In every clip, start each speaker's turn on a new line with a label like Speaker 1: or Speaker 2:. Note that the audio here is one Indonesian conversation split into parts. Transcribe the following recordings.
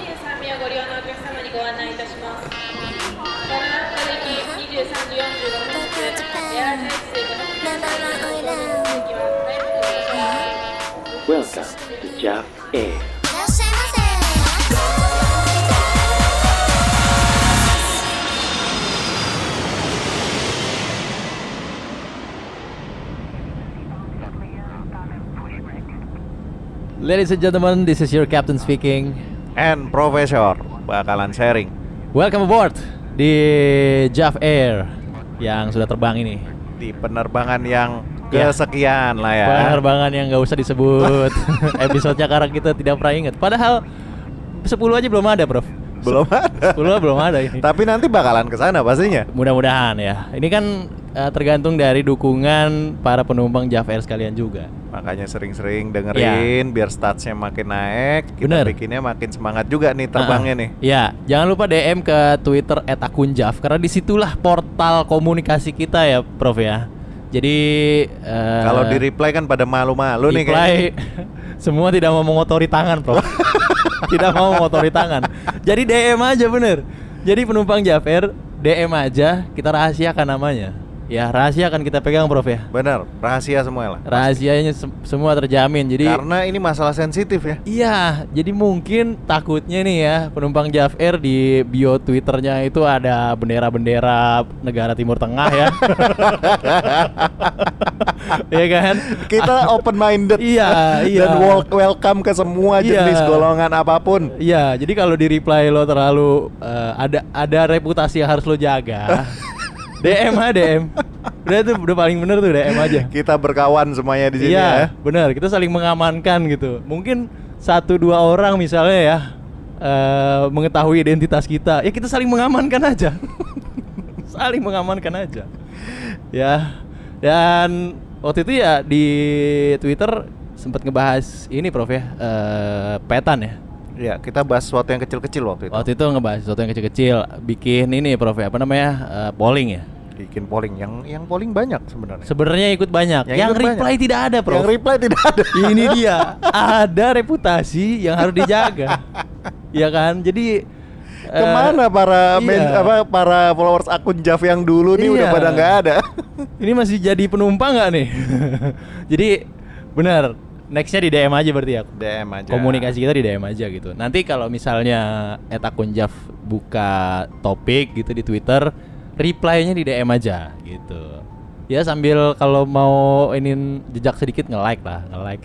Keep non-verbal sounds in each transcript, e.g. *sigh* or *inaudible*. Speaker 1: ご利用のお客様にご案内いたします。ご覧の駅23時45分発、エアースイカの駅は早くご利用ください。
Speaker 2: Welcome to Jap Air.
Speaker 3: いらっしゃいま
Speaker 4: Ladies and gentlemen, this is your captain speaking.
Speaker 5: and Profesor bakalan sharing.
Speaker 4: Welcome aboard di JAF Air yang sudah terbang ini.
Speaker 5: di penerbangan yang
Speaker 4: Ya.
Speaker 5: kesekian lah ya.
Speaker 4: Penerbangan yang nggak usah
Speaker 5: *laughs*
Speaker 4: disebut. Episodenya karena kita tidak pernah ingat. Padahal 10 aja belum ada, Prof.
Speaker 5: Belum
Speaker 4: *laughs* 10
Speaker 5: ada.
Speaker 4: aja belum ada ini.
Speaker 5: Tapi nanti bakalan ke sana pastinya.
Speaker 4: Mudah-mudahan ya. Ini kan eh, tergantung dari dukungan para penumpang JAF Air sekalian juga.
Speaker 5: Makanya sering-sering dengerin biar statsnya makin naik, kita
Speaker 4: Ya. Bener.
Speaker 5: bikinnya makin semangat juga nih terbangnya
Speaker 4: Ah,
Speaker 5: nih.
Speaker 4: Ya, jangan lupa DM ke Twitter @akunjaf karena disitulah portal komunikasi kita ya, Prof ya. Jadi eh,
Speaker 5: Kalau di reply kan pada malu-malu nih
Speaker 4: reply,
Speaker 5: kayaknya.
Speaker 4: *laughs* semua tidak mau mengotori tangan,
Speaker 5: *laughs*
Speaker 4: Prof. tidak mau mengotori tangan. Jadi DM aja bener. Jadi penumpang Jafer DM aja, kita rahasiakan namanya. Ya, rahasia akan kita pegang, Prof ya.
Speaker 5: Bener, rahasia semua lah.
Speaker 4: Rahasianya sem- semua terjamin. Jadi
Speaker 5: Karena ini masalah sensitif ya.
Speaker 4: Iya, jadi mungkin takutnya nih ya penumpang Jaf Air di bio Twitternya itu ada bendera-bendera negara Timur Tengah
Speaker 5: *laughs*
Speaker 4: ya. Iya kan? *laughs*
Speaker 5: Kita open minded *laughs*
Speaker 4: Iya, iya.
Speaker 5: dan wel- welcome ke semua
Speaker 4: Iya.
Speaker 5: jenis golongan apapun.
Speaker 4: Iya, jadi kalau di reply lo terlalu eh, ada ada reputasi yang harus lo jaga.
Speaker 5: *laughs*
Speaker 4: DM aja DM. Udah tuh udah paling bener tuh DM aja.
Speaker 5: Kita berkawan semuanya di sini ya.
Speaker 4: Iya, benar. Kita saling mengamankan gitu. Mungkin satu dua orang misalnya ya eh, mengetahui identitas kita, ya kita saling mengamankan aja. *laughs* saling mengamankan aja. Ya. Dan waktu itu ya di Twitter sempat ngebahas ini Prof ya, eh, petan ya.
Speaker 5: Ya, kita bahas sesuatu yang kecil-kecil waktu itu.
Speaker 4: Waktu itu ngebahas sesuatu yang kecil-kecil, bikin ini Prof ya, apa namanya? eh, polling ya.
Speaker 5: bikin polling yang yang polling banyak sebenarnya
Speaker 4: Sebenarnya ikut banyak. Yang,
Speaker 5: Yang ikut
Speaker 4: reply
Speaker 5: banyak.
Speaker 4: tidak ada, Prof. Iya.
Speaker 5: yang reply tidak ada
Speaker 4: ini dia ada reputasi yang harus dijaga ya kan jadi eh,
Speaker 5: *laughs* kemana para men-
Speaker 4: iya.
Speaker 5: apa para followers akun Jav yang dulu nih udah
Speaker 4: Iya.
Speaker 5: pada nggak ada *laughs*
Speaker 4: ini masih jadi penumpang nggak nih *laughs* jadi benar nextnya di DM aja berarti ya
Speaker 5: DM aja
Speaker 4: komunikasi kita di DM aja gitu nanti kalau misalnya Eta Kunjaf buka topik gitu di Twitter reply-nya di DM aja gitu ya sambil kalau mau ingin jejak sedikit nge-like lah
Speaker 5: *laughs*
Speaker 4: nge-like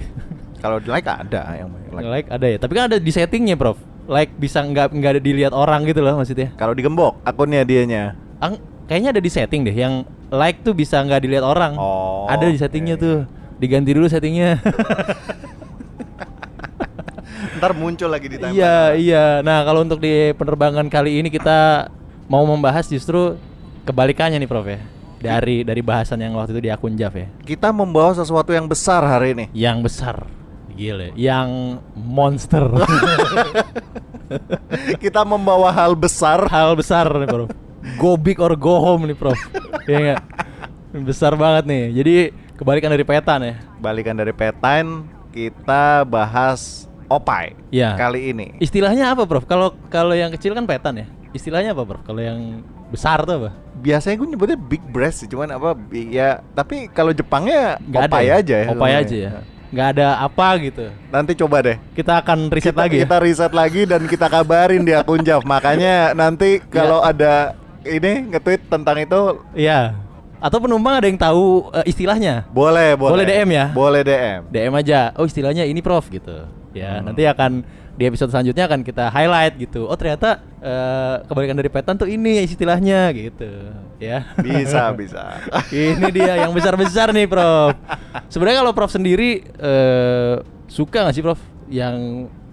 Speaker 5: kalau di like ada yang like.
Speaker 4: Like ada ya, tapi kan ada di settingnya, Prof. Like bisa nggak nggak ada dilihat orang gitu loh maksudnya.
Speaker 5: kalau digembok akunnya dianya
Speaker 4: Ang, kayaknya ada di setting deh, yang like tuh bisa nggak dilihat orang.
Speaker 5: Oh,
Speaker 4: ada di settingnya
Speaker 5: oke.
Speaker 4: tuh, diganti dulu settingnya. *laughs*
Speaker 5: ntar muncul lagi di timeline
Speaker 4: iya iya. Nah kalau untuk di penerbangan kali ini kita mau membahas justru kebalikannya nih, Prof ya. Dari dari bahasan yang waktu itu di akun Jav ya,
Speaker 5: kita membawa sesuatu yang besar hari *laughs* ini
Speaker 4: yang besar. Gile, yang monster, *laughs*
Speaker 5: kita membawa hal besar
Speaker 4: hal besar nih Prof. Go big or go home nih Prof. Iya nggak? Besar banget nih. Jadi kebalikan dari petan ya.
Speaker 5: balikan dari petain kita bahas opai
Speaker 4: Iya.
Speaker 5: kali ini
Speaker 4: Istilahnya apa, Prof? Kalau kalau yang kecil kan petan ya. Istilahnya apa, Prof? Kalau yang besar tuh apa?
Speaker 5: biasanya gue nyebutnya big breast sih, cuman apa bi- ya tapi kalau Jepangnya opai aja ya
Speaker 4: Opai
Speaker 5: namanya.
Speaker 4: aja ya. Nggak ada apa gitu.
Speaker 5: Nanti coba deh.
Speaker 4: Kita akan riset
Speaker 5: kita,
Speaker 4: lagi. ya.
Speaker 5: Kita riset lagi dan kita kabarin di akun Jav. Makanya
Speaker 4: *laughs*
Speaker 5: nanti kalau ada ini nge-tweet tentang itu
Speaker 4: Iya. Atau penumpang ada yang tahu eh, istilahnya?
Speaker 5: boleh, boleh.
Speaker 4: Boleh DM ya?
Speaker 5: Boleh DM.
Speaker 4: DM aja. Oh, istilahnya ini Prof gitu. Ya,
Speaker 5: Hmm.
Speaker 4: nanti akan di episode selanjutnya akan kita highlight gitu. Oh, ternyata eh, kebalikan dari petan tuh ini istilahnya gitu. Ya.
Speaker 5: Bisa, bisa.
Speaker 4: *laughs*
Speaker 5: *laughs*
Speaker 4: Ini dia yang besar-besar nih, Prof. Sebenarnya kalau Prof sendiri eh, suka nggak sih, Prof? Yang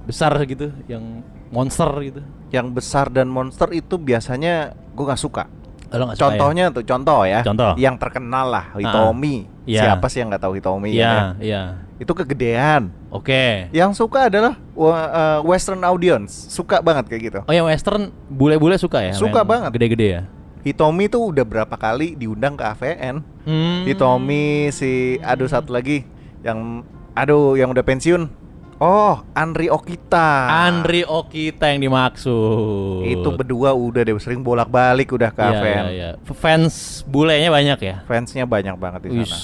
Speaker 4: besar gitu, yang monster gitu.
Speaker 5: Yang besar dan monster itu biasanya gue nggak suka.
Speaker 4: Kalau nggak suka ya?
Speaker 5: Contohnya tuh contoh ya.
Speaker 4: Contoh.
Speaker 5: Yang terkenal lah Hitomi.
Speaker 4: Ah, iya.
Speaker 5: Siapa sih yang nggak tahu Hitomi?
Speaker 4: Iya,
Speaker 5: ya kan?
Speaker 4: iya.
Speaker 5: Itu kegedean.
Speaker 4: Oke.
Speaker 5: Yang suka adalah wa- eh, western audience. Suka banget kayak gitu.
Speaker 4: Oh, yang western bule-bule suka ya?
Speaker 5: Suka
Speaker 4: Yang
Speaker 5: banget.
Speaker 4: Gede-gede ya?
Speaker 5: Hitomi tuh udah berapa kali diundang ke AVN.
Speaker 4: Hmm.
Speaker 5: Iya. Hitomi si aduh satu lagi yang aduh yang udah pensiun Oh, Andri Okita.
Speaker 4: Andri Okita yang dimaksud.
Speaker 5: Itu berdua udah deh sering bolak-balik udah ke
Speaker 4: Iya,
Speaker 5: Aven.
Speaker 4: iya, iya. Fans bulenya banyak ya.
Speaker 5: Fansnya banyak banget di
Speaker 4: Wis.
Speaker 5: sana.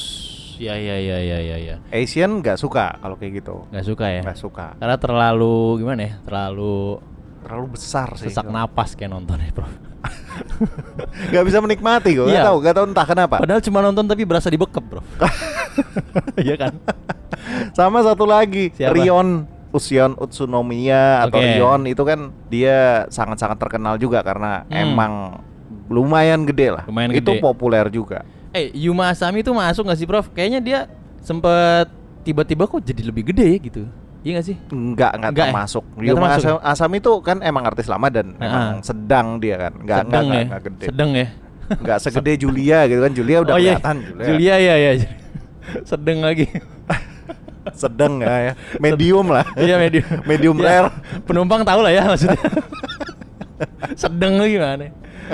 Speaker 4: Ya ya ya ya ya ya.
Speaker 5: Asian nggak suka kalau kayak gitu.
Speaker 4: Gak suka ya.
Speaker 5: Nggak suka.
Speaker 4: Karena terlalu gimana ya? Terlalu
Speaker 5: Terlalu besar sih. *laughs*
Speaker 4: sesak napas kayak nontonnya, Bro.
Speaker 5: Gak bisa menikmati gue.
Speaker 4: Iya.
Speaker 5: Gak tahu, gak tahu entah kenapa.
Speaker 4: Padahal cuma nonton tapi berasa dibekep,
Speaker 5: *laughs*
Speaker 4: Bro. Iya kan?
Speaker 5: Sama satu lagi,
Speaker 4: Siapa?
Speaker 5: Rion Usion Utsunomiya atau
Speaker 4: Oke.
Speaker 5: Rion itu kan dia sangat-sangat terkenal juga karena
Speaker 4: Hmm.
Speaker 5: emang lumayan gede lah.
Speaker 4: Lumayan
Speaker 5: itu
Speaker 4: gede.
Speaker 5: populer juga.
Speaker 4: Eh, Yuma Asami itu masuk gak sih, Prof? Kayaknya dia sempet tiba-tiba kok jadi lebih gede ya gitu. Iya gak sih?
Speaker 5: Enggak, enggak
Speaker 4: Nggak ya?
Speaker 5: termasuk.
Speaker 4: Nggak
Speaker 5: Yuma
Speaker 4: termasuk ya?
Speaker 5: Asam, Asam itu kan emang artis lama dan
Speaker 4: Ah.
Speaker 5: emang sedang dia kan. Enggak, enggak,
Speaker 4: Sedeng
Speaker 5: enggak,
Speaker 4: ya.
Speaker 5: enggak gede.
Speaker 4: Sedeng ya.
Speaker 5: Enggak segede Julia gitu kan. Julia
Speaker 4: *laughs*
Speaker 5: udah
Speaker 4: iya.
Speaker 5: kelihatan
Speaker 4: Julia. ya *laughs* ya. Sedeng
Speaker 5: *laughs*
Speaker 4: lagi.
Speaker 5: Sedang ya, ya. Medium lah.
Speaker 4: Iya medium.
Speaker 5: *laughs* Medium
Speaker 4: Ya,
Speaker 5: rare.
Speaker 4: Penumpang tahu lah ya
Speaker 5: *laughs*
Speaker 4: maksudnya. Sedeng lagi gimana?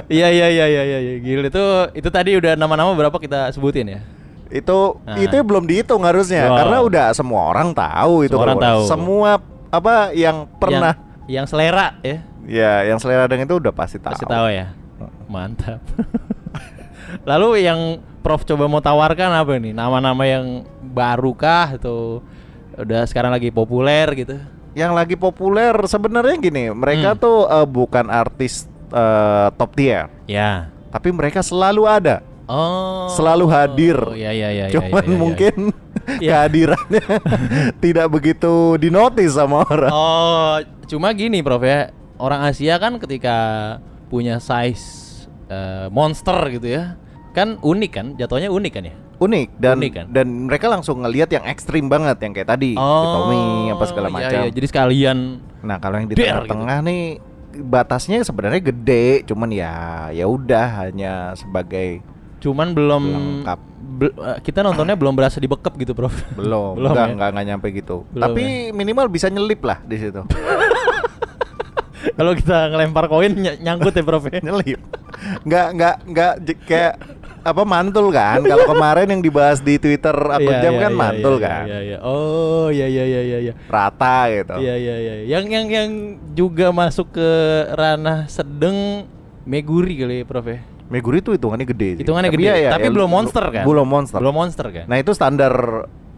Speaker 4: Iya iya iya iya iya iya. gila itu itu tadi udah nama-nama berapa kita sebutin ya?
Speaker 5: Itu
Speaker 4: Ah.
Speaker 5: itu belum dihitung harusnya
Speaker 4: Wow.
Speaker 5: karena udah semua orang tahu itu.
Speaker 4: Semua orang
Speaker 5: Bro.
Speaker 4: tahu.
Speaker 5: Semua apa yang pernah
Speaker 4: yang, yang selera ya.
Speaker 5: Ya, yang selera dengan itu udah pasti tahu.
Speaker 4: Pasti tahu ya. Mantap. *laughs* Lalu yang Prof coba mau tawarkan apa nih? Nama-nama yang baru kah atau udah sekarang lagi populer gitu?
Speaker 5: Yang lagi populer sebenarnya gini,
Speaker 4: Hmm.
Speaker 5: mereka tuh eh, bukan artis eh, top tier,
Speaker 4: Ya.
Speaker 5: tapi mereka selalu ada,
Speaker 4: Oh.
Speaker 5: selalu hadir.
Speaker 4: Oh, ya ya ya. ya,
Speaker 5: Cuman
Speaker 4: ya, ya, ya.
Speaker 5: mungkin
Speaker 4: *laughs* Iya. *laughs*
Speaker 5: kehadirannya tidak begitu dinotis sama orang.
Speaker 4: Oh, cuma gini Prof ya. Orang Asia kan ketika punya size eh, monster gitu ya. Kan unik kan? Jatuhnya unik kan ya?
Speaker 5: Unik dan
Speaker 4: Unik kan?
Speaker 5: dan mereka langsung ngelihat yang ekstrim banget yang kayak tadi, Iya, Tommy apa segala
Speaker 4: Oh, iya,
Speaker 5: macam.
Speaker 4: iya. Jadi sekalian
Speaker 5: Nah, kalau yang di
Speaker 4: Der,
Speaker 5: tengah-tengah nih batasnya sebenarnya gede, cuman ya ya udah hanya sebagai
Speaker 4: cuman belum
Speaker 5: Lengkap.
Speaker 4: bel- eh, kita nontonnya belum berasa dibekep gitu, Prof.
Speaker 5: *laughs* Belum,
Speaker 4: Belum
Speaker 5: enggak,
Speaker 4: ya?
Speaker 5: enggak, enggak nyampe gitu.
Speaker 4: Belum ya?
Speaker 5: Tapi minimal bisa nyelip lah di
Speaker 4: *laughs*
Speaker 5: situ.
Speaker 4: Kalau kita ngelempar koin ny- nyangkut ya, Prof. ya?
Speaker 5: nyelip. Enggak, enggak, enggak j- kayak apa mantul
Speaker 4: *laughs*
Speaker 5: kan? Kalau kemarin yang dibahas di Twitter akun
Speaker 4: Iya,
Speaker 5: jam
Speaker 4: iya,
Speaker 5: kan
Speaker 4: iya,
Speaker 5: mantul
Speaker 4: iya,
Speaker 5: kan.
Speaker 4: Iya, iya. Oh, iya iya iya iya iya.
Speaker 5: Rata gitu.
Speaker 4: Iya iya iya. Yang yang yang juga masuk ke ranah sedeng Meguri kali ya, Prof ya.
Speaker 5: Meguri itu hitungannya gede sih.
Speaker 4: Hitungannya gede,
Speaker 5: ya, ya,
Speaker 4: tapi
Speaker 5: ya,
Speaker 4: belum
Speaker 5: lu-
Speaker 4: monster kan?
Speaker 5: Belum monster.
Speaker 4: Belum monster kan?
Speaker 5: Nah, itu standar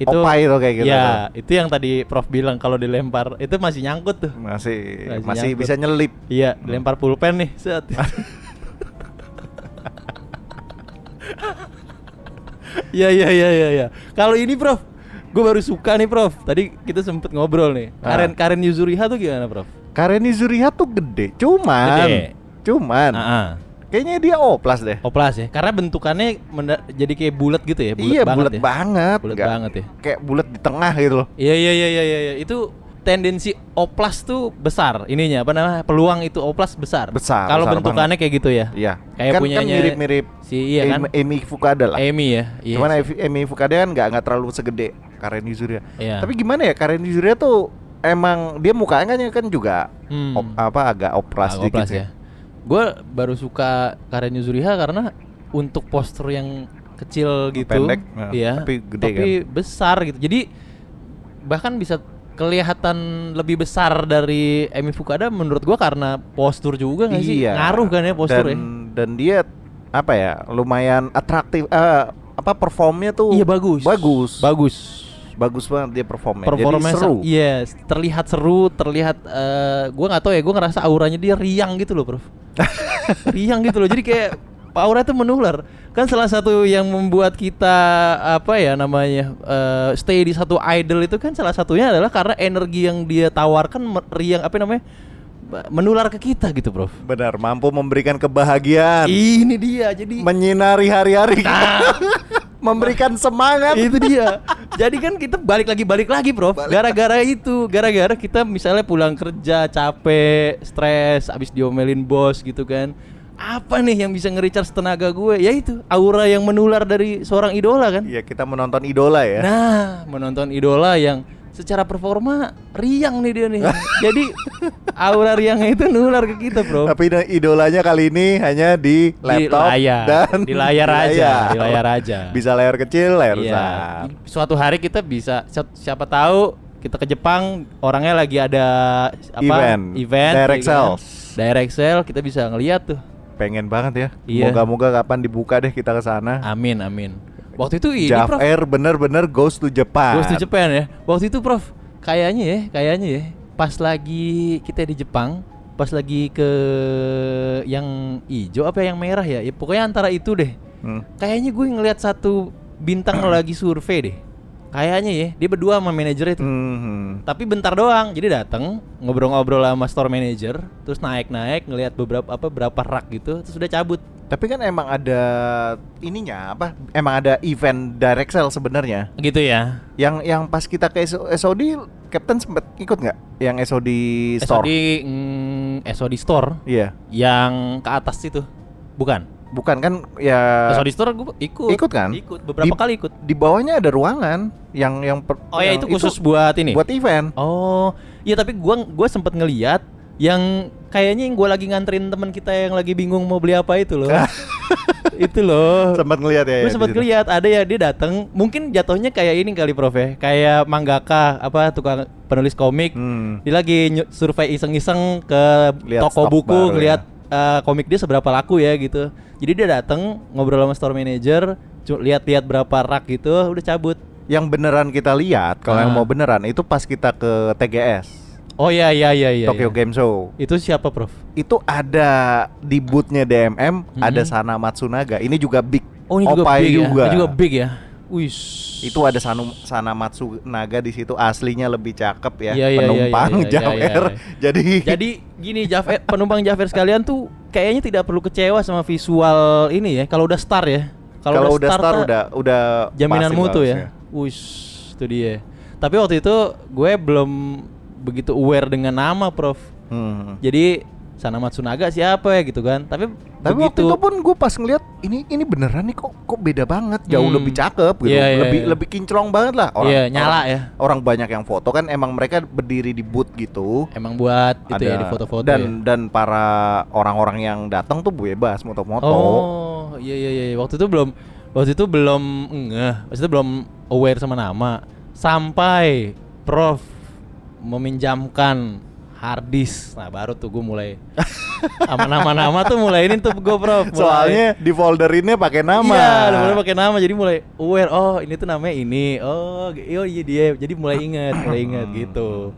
Speaker 4: itu
Speaker 5: opai itu kayak gitu.
Speaker 4: Ya,
Speaker 5: tuh.
Speaker 4: itu yang tadi Prof bilang kalau dilempar itu masih nyangkut tuh.
Speaker 5: Masih
Speaker 4: Masih
Speaker 5: masih
Speaker 4: nyangkut.
Speaker 5: bisa nyelip.
Speaker 4: Iya, dilempar pulpen nih.
Speaker 5: *laughs*
Speaker 4: Set. Iya iya iya iya iya. Kalau ini Prof, gue baru suka nih Prof. Tadi kita sempet ngobrol nih.
Speaker 5: Ah.
Speaker 4: Karen Karen Yuzuriha tuh gimana Prof?
Speaker 5: Kareni Zuriha tuh gede, cuman
Speaker 4: Gede. Ah,
Speaker 5: cuman
Speaker 4: Heeh.
Speaker 5: kayaknya dia oplas deh.
Speaker 4: Oplas ya. Karena bentukannya menda- jadi kayak bulat gitu ya, bulat
Speaker 5: iya,
Speaker 4: banget
Speaker 5: bulat
Speaker 4: ya.
Speaker 5: banget.
Speaker 4: Bulat
Speaker 5: nggak-
Speaker 4: banget ya.
Speaker 5: Kayak bulat di tengah gitu loh.
Speaker 4: Iya iya iya iya iya iya. itu tendensi oplas tuh besar ininya apa namanya peluang itu oplas besar.
Speaker 5: Besar,
Speaker 4: Kalau
Speaker 5: besar
Speaker 4: bentukannya kayak gitu ya.
Speaker 5: Iya.
Speaker 4: Kayak
Speaker 5: kan, kan
Speaker 4: punyanya
Speaker 5: mirip-mirip
Speaker 4: si iya kan?
Speaker 5: Em- Emi Fukada lah.
Speaker 4: Emi ya. Iya.
Speaker 5: Cuman Evi- Emi Fukada kan nggak nggak terlalu segede Karen Yuzuria.
Speaker 4: Iya.
Speaker 5: Tapi gimana ya Karen Yuzuria tuh emang dia mukanya kan- kan juga
Speaker 4: Hmm.
Speaker 5: op- apa agak opras
Speaker 4: Agak
Speaker 5: dikit
Speaker 4: oplas
Speaker 5: sih.
Speaker 4: ya. Gue baru suka Karen Yuzuriha karena untuk postur yang kecil gitu,
Speaker 5: Pendek, nah,
Speaker 4: iya,
Speaker 5: tapi gede kan.
Speaker 4: tapi besar gitu. Jadi bahkan bisa kelihatan lebih besar dari Emi Fukada menurut gua karena postur juga nggak sih?
Speaker 5: Iya.
Speaker 4: Ngaruh kan ya postur
Speaker 5: dan, dan dia apa ya lumayan atraktif eh, apa performnya tuh
Speaker 4: Iya bagus.
Speaker 5: bagus
Speaker 4: Bagus. iya.
Speaker 5: bagus banget dia performnya
Speaker 4: Performanya
Speaker 5: jadi seru
Speaker 4: Yes, terlihat seru, terlihat eh gua nggak tahu ya, gua ngerasa auranya dia riang gitu loh,
Speaker 5: *laughs*
Speaker 4: Prof. riang gitu loh. Jadi kayak aura itu menular. Kan salah satu yang membuat kita apa ya namanya eh, stay di satu idol itu kan salah satunya adalah karena energi yang dia tawarkan me- riang apa namanya ba- menular ke kita gitu, Prof.
Speaker 5: benar mampu memberikan kebahagiaan
Speaker 4: Ini dia. Jadi
Speaker 5: menyinari hari-hari
Speaker 4: Nah.
Speaker 5: kita *laughs* memberikan semangat
Speaker 4: itu dia jadi kan kita balik lagi balik lagi prof gara-gara itu gara-gara kita misalnya pulang kerja capek stres abis diomelin bos gitu kan apa nih yang bisa nge-recharge tenaga gue ya itu aura yang menular dari seorang idola kan
Speaker 5: Iya kita menonton idola ya
Speaker 4: nah menonton idola yang secara performa riang nih dia nih jadi aura riangnya itu nular ke kita bro
Speaker 5: Tapi na- idolanya kali ini hanya di laptop
Speaker 4: di layar
Speaker 5: dan
Speaker 4: di layar
Speaker 5: di
Speaker 4: aja
Speaker 5: layar.
Speaker 4: di layar aja
Speaker 5: Bisa layar kecil, layar
Speaker 4: Iya.
Speaker 5: besar.
Speaker 4: Suatu hari kita bisa siap- siapa tahu kita ke Jepang orangnya lagi ada apa
Speaker 5: Event.
Speaker 4: event kayak
Speaker 5: Direct
Speaker 4: gitu kan.
Speaker 5: sales.
Speaker 4: direct sale kita bisa ngeliat tuh
Speaker 5: Pengen banget ya.
Speaker 4: Iya.
Speaker 5: Moga-moga kapan dibuka deh kita ke sana.
Speaker 4: amin amin waktu itu ini
Speaker 5: Jav
Speaker 4: prof
Speaker 5: Air bener-bener goes to Japan.
Speaker 4: Goes to Japan ya. Waktu itu Prof, kayaknya ya, kayaknya ya pas lagi kita di Jepang, pas lagi ke yang hijau apa yang merah ya? Ya pokoknya antara itu deh.
Speaker 5: Hmm.
Speaker 4: Kayaknya gue ngelihat satu bintang *clears throat* lagi survei deh. Kayaknya ya, dia berdua sama manajernya itu.
Speaker 5: Mhm.
Speaker 4: Tapi bentar doang. Jadi datang ngobrol-ngobrol sama store manager, terus naik-naik ngelihat beberapa apa berapa rak gitu, terus udah cabut.
Speaker 5: Tapi kan emang ada ininya apa? Emang ada event direct sale sebenarnya.
Speaker 4: Gitu ya.
Speaker 5: Yang yang pas kita ke SO SOD, Captain sempet ikut nggak? Yang SOD store?
Speaker 4: SOD mm, SOD store
Speaker 5: Iya.
Speaker 4: yang ke atas itu. Bukan.
Speaker 5: Bukan kan ya
Speaker 4: Sorry store gue ikut.
Speaker 5: Ikut kan?
Speaker 4: Ikut beberapa
Speaker 5: Di-
Speaker 4: kali ikut.
Speaker 5: di bawahnya ada ruangan yang yang per-
Speaker 4: Oh ya
Speaker 5: yang
Speaker 4: itu khusus buat ini.
Speaker 5: Iya, buat event.
Speaker 4: Oh, iya tapi gua gua sempet ngeliat yang kayaknya yang gua lagi nganterin teman kita yang lagi bingung mau beli apa itu loh.
Speaker 5: *laughs*
Speaker 4: itu loh.
Speaker 5: Sempat ngelihat
Speaker 4: Gue
Speaker 5: ya. ya,
Speaker 4: Oh. sempet
Speaker 5: di situ.
Speaker 4: ngeliat ada ya dia datang. Mungkin jatuhnya kayak ini kali Prof ya. Kayak mangaka apa tukang penulis komik.
Speaker 5: Hmm.
Speaker 4: Dia lagi nyu- survei iseng-iseng ke
Speaker 5: Lihat
Speaker 4: toko
Speaker 5: stok
Speaker 4: buku,
Speaker 5: baru ya.
Speaker 4: ngeliat eh, komik dia seberapa laku ya gitu. Jadi dia datang ngobrol sama store manager, cu- lihat-lihat berapa rak gitu, udah cabut.
Speaker 5: Yang beneran kita lihat kalau yang
Speaker 4: Ah.
Speaker 5: mau beneran itu pas kita ke TGS
Speaker 4: Oh iya iya iya iya.
Speaker 5: Tokyo
Speaker 4: iya.
Speaker 5: Game Show
Speaker 4: Itu siapa, Prof?
Speaker 5: itu ada di bootnya DMM
Speaker 4: Mhm.
Speaker 5: ada Sana Matsunaga ini juga big
Speaker 4: Oh, ini juga
Speaker 5: Opai
Speaker 4: big ya.
Speaker 5: juga.
Speaker 4: Ini juga big ya. Wih.
Speaker 5: itu ada Sanu, Sana Matsunaga di situ aslinya lebih cakep
Speaker 4: Iya,
Speaker 5: ya
Speaker 4: iya, iya,
Speaker 5: penumpang
Speaker 4: iya, iya,
Speaker 5: Jav
Speaker 4: iya,
Speaker 5: Air.
Speaker 4: iya.
Speaker 5: *laughs* jadi
Speaker 4: Jadi gini Jafet, penumpang Jafet sekalian tuh kayaknya tidak perlu kecewa sama visual ini ya. Kalau udah star ya.
Speaker 5: kalau udah star
Speaker 4: tuh-
Speaker 5: udah udah
Speaker 4: jaminan
Speaker 5: pasti
Speaker 4: mutu
Speaker 5: bagus
Speaker 4: ya. Wush, itu dia. Tapi waktu itu gue belum begitu aware dengan nama, Prof.
Speaker 5: Hmm.
Speaker 4: Jadi Sana Matsunaga siapa ya gitu kan. Tapi,
Speaker 5: Tapi
Speaker 4: begitu
Speaker 5: waktu itu pun gue pas ngeliat ini ini beneran nih kok kok beda banget jauh
Speaker 4: Hmm.
Speaker 5: lebih cakep gitu
Speaker 4: Iya, iya,
Speaker 5: lebih
Speaker 4: iya.
Speaker 5: lebih kinclong banget lah orang
Speaker 4: Iya, nyala
Speaker 5: orang,
Speaker 4: ya.
Speaker 5: orang banyak yang foto kan emang mereka berdiri di booth gitu
Speaker 4: emang buat itu ya
Speaker 5: Ada-
Speaker 4: di foto-foto
Speaker 5: dan
Speaker 4: ya.
Speaker 5: dan para orang-orang yang datang tuh bebas moto-moto
Speaker 4: Oh, iya iya iya. Waktu itu belum waktu itu belum ngeh, waktu itu belum aware sama nama sampai Prof meminjamkan harddisk. Nah, baru tuh gue mulai sama nama-nama tuh mulai ini tuh gue Prof. mulai-
Speaker 5: soalnya di folderinnya pakai nama
Speaker 4: Iya, udah mulai pakai nama jadi mulai aware. Oh, ini tuh namanya ini. Oh, g- oh iya dia. Jadi mulai ingat, mulai ingat gitu.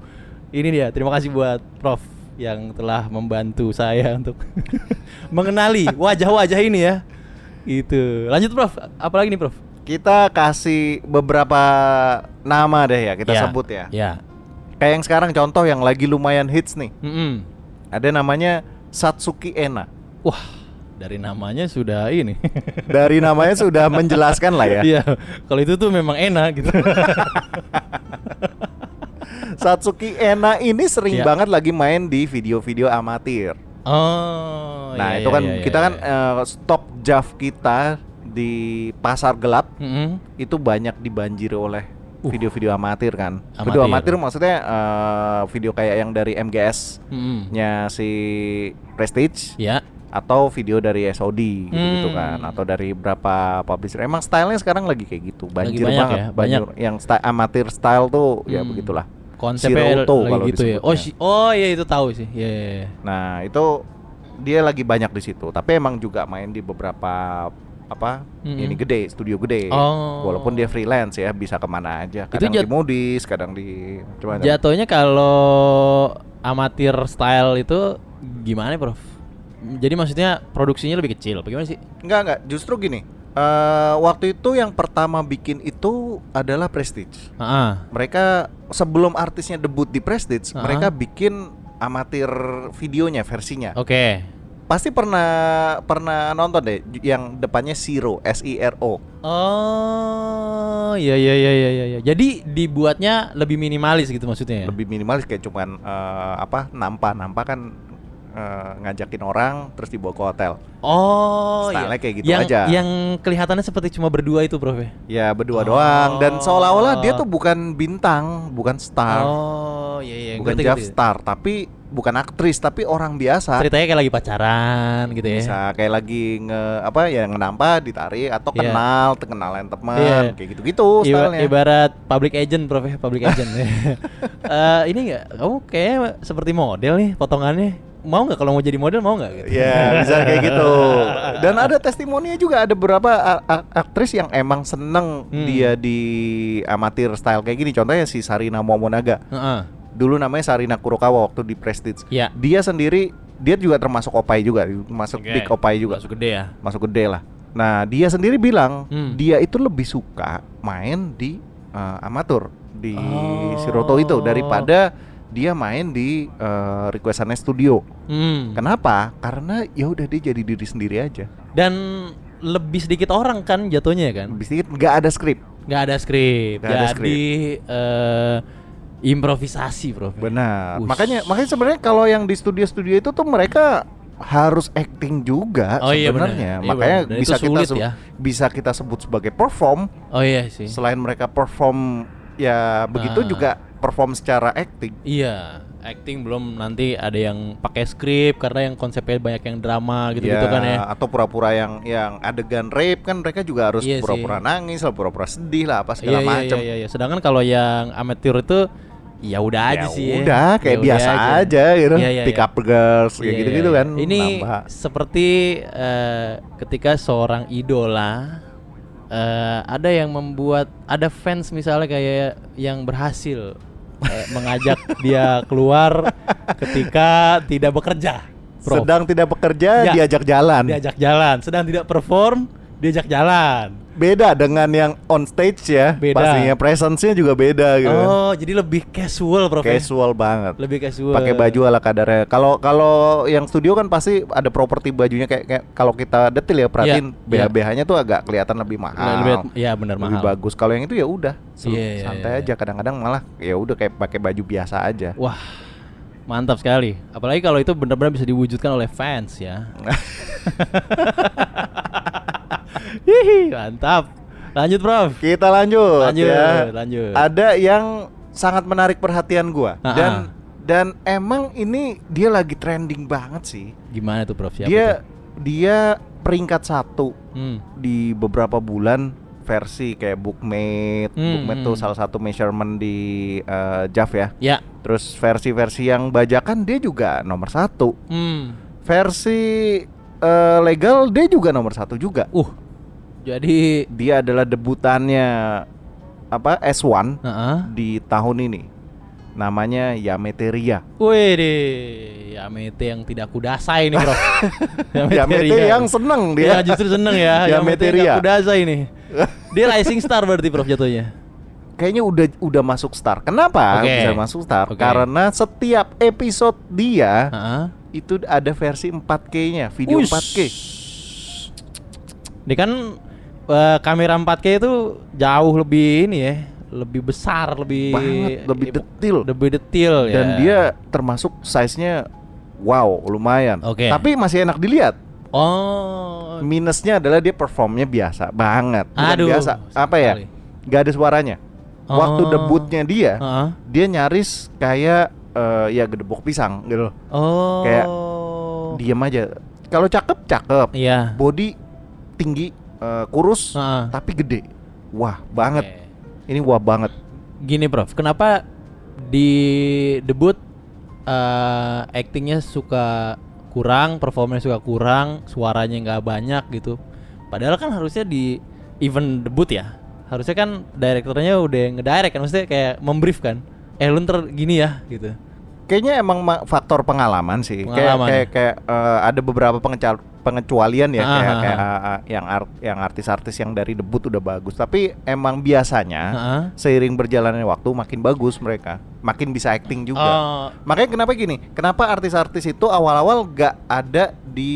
Speaker 4: Ini dia. Terima kasih buat Prof yang telah membantu saya untuk *laughs* mengenali wajah-wajah ini ya. Gitu. Lanjut Prof, apalagi nih Prof?
Speaker 5: kita kasih beberapa nama deh ya kita sebut ya
Speaker 4: Ya.
Speaker 5: kayak yang sekarang contoh yang lagi lumayan hits nih
Speaker 4: Mm-mm.
Speaker 5: ada namanya Satsuki Ena
Speaker 4: Wah, dari namanya sudah ini.
Speaker 5: dari namanya
Speaker 4: *laughs*
Speaker 5: sudah menjelaskan lah ya
Speaker 4: Iya. Kalau itu tuh memang enak
Speaker 5: *laughs*
Speaker 4: gitu.
Speaker 5: Satsuki Ena ini sering
Speaker 4: Iya.
Speaker 5: banget lagi main di video-video amatir.
Speaker 4: oh.
Speaker 5: nah,
Speaker 4: iya,
Speaker 5: itu
Speaker 4: iya,
Speaker 5: kan
Speaker 4: iya,
Speaker 5: kita
Speaker 4: iya,
Speaker 5: kan
Speaker 4: iya.
Speaker 5: eh, stok jav kita di pasar gelap
Speaker 4: Mm-mm.
Speaker 5: itu banyak dibanjiri oleh
Speaker 4: Uh.
Speaker 5: video-video amatir kan.
Speaker 4: Amatir.
Speaker 5: Video amatir maksudnya eh, video kayak yang dari MGS-nya
Speaker 4: Mm-mm.
Speaker 5: si Prestige
Speaker 4: Ya.
Speaker 5: atau video dari SOD gitu-gitu
Speaker 4: Hmm.
Speaker 5: kan atau dari berapa publisher. Emang stylenya sekarang lagi kayak gitu,
Speaker 4: Lagi
Speaker 5: banjir
Speaker 4: banyak
Speaker 5: banget,
Speaker 4: ya,
Speaker 5: banjir yang style amatir style tuh ya
Speaker 4: Hmm.
Speaker 5: begitulah.
Speaker 4: konsepnya
Speaker 5: Shiroto
Speaker 4: lagi
Speaker 5: kalau
Speaker 4: gitu ya. Oh,
Speaker 5: disebutnya.
Speaker 4: si- oh iya itu tahu sih. Iya iya iya.
Speaker 5: Nah, itu dia lagi banyak di situ, tapi emang juga main di beberapa apa
Speaker 4: Mm-mm.
Speaker 5: ini gede studio gede
Speaker 4: Oh.
Speaker 5: walaupun dia freelance ya bisa kemana aja
Speaker 4: Itu
Speaker 5: kadang
Speaker 4: jat-
Speaker 5: di modis kadang di cuman
Speaker 4: Jatuhnya kalau amatir style itu gimana, Prof? Jadi maksudnya produksinya lebih kecil. Bagaimana sih?
Speaker 5: enggak enggak justru gini eh, waktu itu yang pertama bikin itu adalah Prestige
Speaker 4: Heeh.
Speaker 5: mereka sebelum artisnya debut di Prestige
Speaker 4: Ah.
Speaker 5: mereka bikin amatir videonya versinya
Speaker 4: Oke.
Speaker 5: pasti pernah pernah nonton deh yang depannya Siro S I R O
Speaker 4: Oh, iya iya iya iya iya. Jadi dibuatnya lebih minimalis gitu maksudnya ya?
Speaker 5: lebih minimalis kayak cuman eh, apa nampa nampa kan eh, ngajakin orang terus dibawa ke hotel.
Speaker 4: Oh,
Speaker 5: Style-nya kayak gitu
Speaker 4: yang,
Speaker 5: aja.
Speaker 4: Yang kelihatannya seperti cuma berdua itu, Prof. ya?
Speaker 5: Ya berdua doang dan seolah-olah dia tuh bukan bintang, bukan star,
Speaker 4: Oh, iya iya.
Speaker 5: Ah. bukan
Speaker 4: ngerti,
Speaker 5: Jeff
Speaker 4: ngerti.
Speaker 5: star, tapi bukan aktris tapi orang biasa.
Speaker 4: Ceritanya kayak lagi pacaran gitu ya.
Speaker 5: Bisa kayak lagi nge apa ya ngenampa ditarik atau
Speaker 4: Iya.
Speaker 5: kenal, kenalan teman,
Speaker 4: Iya.
Speaker 5: kayak gitu-gitu
Speaker 4: Iba-
Speaker 5: stylenya.
Speaker 4: ibarat public agent, Prof. ya, Public
Speaker 5: *laughs*
Speaker 4: agent. Eh, ini nggak kamu kayaknya seperti model nih potongannya. Mau nggak kalau mau jadi model mau nggak gitu?
Speaker 5: Ya bisa kayak
Speaker 4: *laughs*
Speaker 5: gitu. Dan ada testimoninya juga ada beberapa a- a- aktris yang emang seneng
Speaker 4: Hmm.
Speaker 5: dia di amatir style kayak gini. Contohnya si Sarina Momonaga.
Speaker 4: Heeh.
Speaker 5: Dulu namanya Sarina Kurokawa waktu di Prestige.
Speaker 4: Iya.
Speaker 5: Dia sendiri dia juga termasuk opai juga, termasuk
Speaker 4: Oke.
Speaker 5: big opai juga,
Speaker 4: Masuk gede ya.
Speaker 5: masuk gede lah. Nah dia sendiri bilang
Speaker 4: Hmm.
Speaker 5: dia itu lebih suka main di eh, amatur di
Speaker 4: Oh.
Speaker 5: Siroto itu daripada dia main di eh, requestannya studio.
Speaker 4: Hmm.
Speaker 5: Kenapa? Karena ya udah dia jadi diri sendiri aja.
Speaker 4: Dan lebih sedikit orang kan jatuhnya ya kan?
Speaker 5: Lebih sedikit nggak ada skrip.
Speaker 4: Nggak ada skrip.
Speaker 5: Nggak ada
Speaker 4: Jadi eh, improvisasi, Prof.
Speaker 5: Benar.
Speaker 4: Wush.
Speaker 5: Makanya makanya sebenarnya kalau yang di studio-studio itu tuh mereka harus acting juga
Speaker 4: Oh iya,
Speaker 5: sebenarnya.
Speaker 4: benar. Iya,
Speaker 5: makanya
Speaker 4: benar. Dan
Speaker 5: bisa
Speaker 4: itu
Speaker 5: kita
Speaker 4: sulit
Speaker 5: se-
Speaker 4: ya.
Speaker 5: bisa kita sebut sebagai perform.
Speaker 4: Oh iya sih.
Speaker 5: Selain mereka perform ya begitu
Speaker 4: Ah.
Speaker 5: juga perform secara acting.
Speaker 4: Iya, acting belum nanti ada yang pakai skrip karena yang konsepnya banyak yang drama gitu-gitu
Speaker 5: Ya,
Speaker 4: kan ya.
Speaker 5: atau pura-pura yang yang adegan rape kan mereka juga harus
Speaker 4: Iya sih.
Speaker 5: pura-pura nangis lah pura-pura sedih lah
Speaker 4: Iya
Speaker 5: apa segala
Speaker 4: iya,
Speaker 5: macam
Speaker 4: iya iya. Sedangkan kalau yang amatir itu ya udah aja
Speaker 5: ya
Speaker 4: sih. ya.
Speaker 5: udah kayak
Speaker 4: Ya
Speaker 5: biasa
Speaker 4: udah
Speaker 5: aja gitu
Speaker 4: Iya, iya,
Speaker 5: pick
Speaker 4: iya.
Speaker 5: up girls kayak
Speaker 4: Iya,
Speaker 5: gitu
Speaker 4: iya,
Speaker 5: gitu
Speaker 4: iya.
Speaker 5: kan
Speaker 4: Ini
Speaker 5: nambah.
Speaker 4: seperti eh, ketika seorang idola eh, ada yang membuat ada fans misalnya kayak yang berhasil eh,
Speaker 5: *laughs*
Speaker 4: mengajak dia keluar ketika tidak bekerja. Prof.
Speaker 5: sedang tidak bekerja
Speaker 4: Ya.
Speaker 5: diajak jalan
Speaker 4: diajak jalan sedang tidak perform diajak jalan
Speaker 5: beda dengan yang on stage ya
Speaker 4: Beda.
Speaker 5: pastinya presence-nya juga beda gitu
Speaker 4: oh jadi lebih casual prof ya?
Speaker 5: casual banget
Speaker 4: lebih casual
Speaker 5: pakai baju ala kadarnya kalau kalau yang studio kan pasti ada properti bajunya kayak, kayak kalau kita detail ya perhatiin
Speaker 4: iya.
Speaker 5: BH-BH-nya tuh agak kelihatan lebih mahal
Speaker 4: lebih ya benar
Speaker 5: lebih
Speaker 4: mahal
Speaker 5: bagus kalau yang itu ya udah sel-
Speaker 4: Iya, iya,
Speaker 5: santai
Speaker 4: iya,
Speaker 5: aja kadang-kadang malah ya udah kayak pakai baju biasa aja
Speaker 4: wah mantap sekali apalagi kalau itu benar-benar bisa diwujudkan oleh fans
Speaker 5: *laughs*
Speaker 4: ya Hihi, mantap lanjut prof
Speaker 5: Kita lanjut.
Speaker 4: Lanjut,
Speaker 5: ya.
Speaker 4: lanjut.
Speaker 5: Ada yang sangat menarik perhatian gua
Speaker 4: Ah,
Speaker 5: dan
Speaker 4: ah.
Speaker 5: dan emang ini dia lagi trending banget sih.
Speaker 4: gimana tuh prof Siapa
Speaker 5: dia
Speaker 4: tuh?
Speaker 5: dia peringkat satu
Speaker 4: Hmm.
Speaker 5: di beberapa bulan versi kayak Bookmate.
Speaker 4: Hmm,
Speaker 5: Bookmate
Speaker 4: hmm.
Speaker 5: tuh salah satu measurement di eh, JAV ya.
Speaker 4: ya
Speaker 5: Terus versi-versi yang bajakan dia juga nomor satu.
Speaker 4: hmm.
Speaker 5: Versi eh, legal dia juga nomor satu juga.
Speaker 4: uh jadi
Speaker 5: Dia adalah debutannya apa S1
Speaker 4: Heeh.
Speaker 5: di tahun ini namanya Yameteria.
Speaker 4: Wih deh, Yamete yang tidak kudasai nih
Speaker 5: *laughs*
Speaker 4: bro
Speaker 5: Yamete
Speaker 4: Ria.
Speaker 5: yang seneng dia.
Speaker 4: Ya justru seneng
Speaker 5: *laughs*
Speaker 4: ya Yamete
Speaker 5: Yamete Ria.
Speaker 4: tidak kudasai
Speaker 5: *laughs*
Speaker 4: nih Dia rising star berarti Prof jatuhnya
Speaker 5: Kayaknya udah udah masuk star. Kenapa
Speaker 4: Oke.
Speaker 5: bisa masuk star?
Speaker 4: Oke.
Speaker 5: Karena setiap episode dia
Speaker 4: Heeh.
Speaker 5: itu ada versi 4K-nya, video
Speaker 4: Uish.
Speaker 5: 4K.
Speaker 4: Ini kan eh, kamera 4K itu jauh lebih ini ya Lebih besar, lebih
Speaker 5: Banget, lebih detail.
Speaker 4: Lebih detail ya
Speaker 5: Dan dia termasuk size-nya wow, lumayan.
Speaker 4: Oke.
Speaker 5: Tapi masih enak dilihat.
Speaker 4: Oh
Speaker 5: Minusnya adalah dia performnya biasa banget. Bukan
Speaker 4: Aduh,
Speaker 5: biasa. Apa ya?
Speaker 4: sekali.
Speaker 5: Gak ada suaranya. Waktu
Speaker 4: Oh.
Speaker 5: debutnya dia,
Speaker 4: Heeh.
Speaker 5: dia nyaris kayak eh, ya gedebok pisang gitu loh.
Speaker 4: Oh
Speaker 5: Kayak Diem aja. Kalau cakep cakep,
Speaker 4: Iya
Speaker 5: body tinggi, eh, kurus,
Speaker 4: Heeh.
Speaker 5: tapi gede. Wah banget.
Speaker 4: Oke.
Speaker 5: Ini wah banget.
Speaker 4: Gini Prof, kenapa di debut eh, actingnya suka kurang, performanya suka kurang, suaranya nggak banyak gitu. Padahal kan harusnya di event debut ya, harusnya kan direkturnya udah ngedirect kan, maksudnya kayak membrief kan. Eh lu ntar gini ya gitu.
Speaker 5: Kayaknya emang ma- faktor pengalaman sih. Kayak-
Speaker 4: Pengalaman. ya?
Speaker 5: Kayak kayak eh, ada beberapa pengeca- pengecualian ya
Speaker 4: Ah,
Speaker 5: kayak,
Speaker 4: ah,
Speaker 5: kayak, eh, eh, yang art- yang artis-artis yang dari debut udah bagus. Tapi emang biasanya
Speaker 4: Heeh.
Speaker 5: seiring berjalannya waktu makin bagus mereka, makin bisa acting juga.
Speaker 4: Oh,
Speaker 5: Makanya kenapa gini? Kenapa artis-artis itu awal-awal gak ada di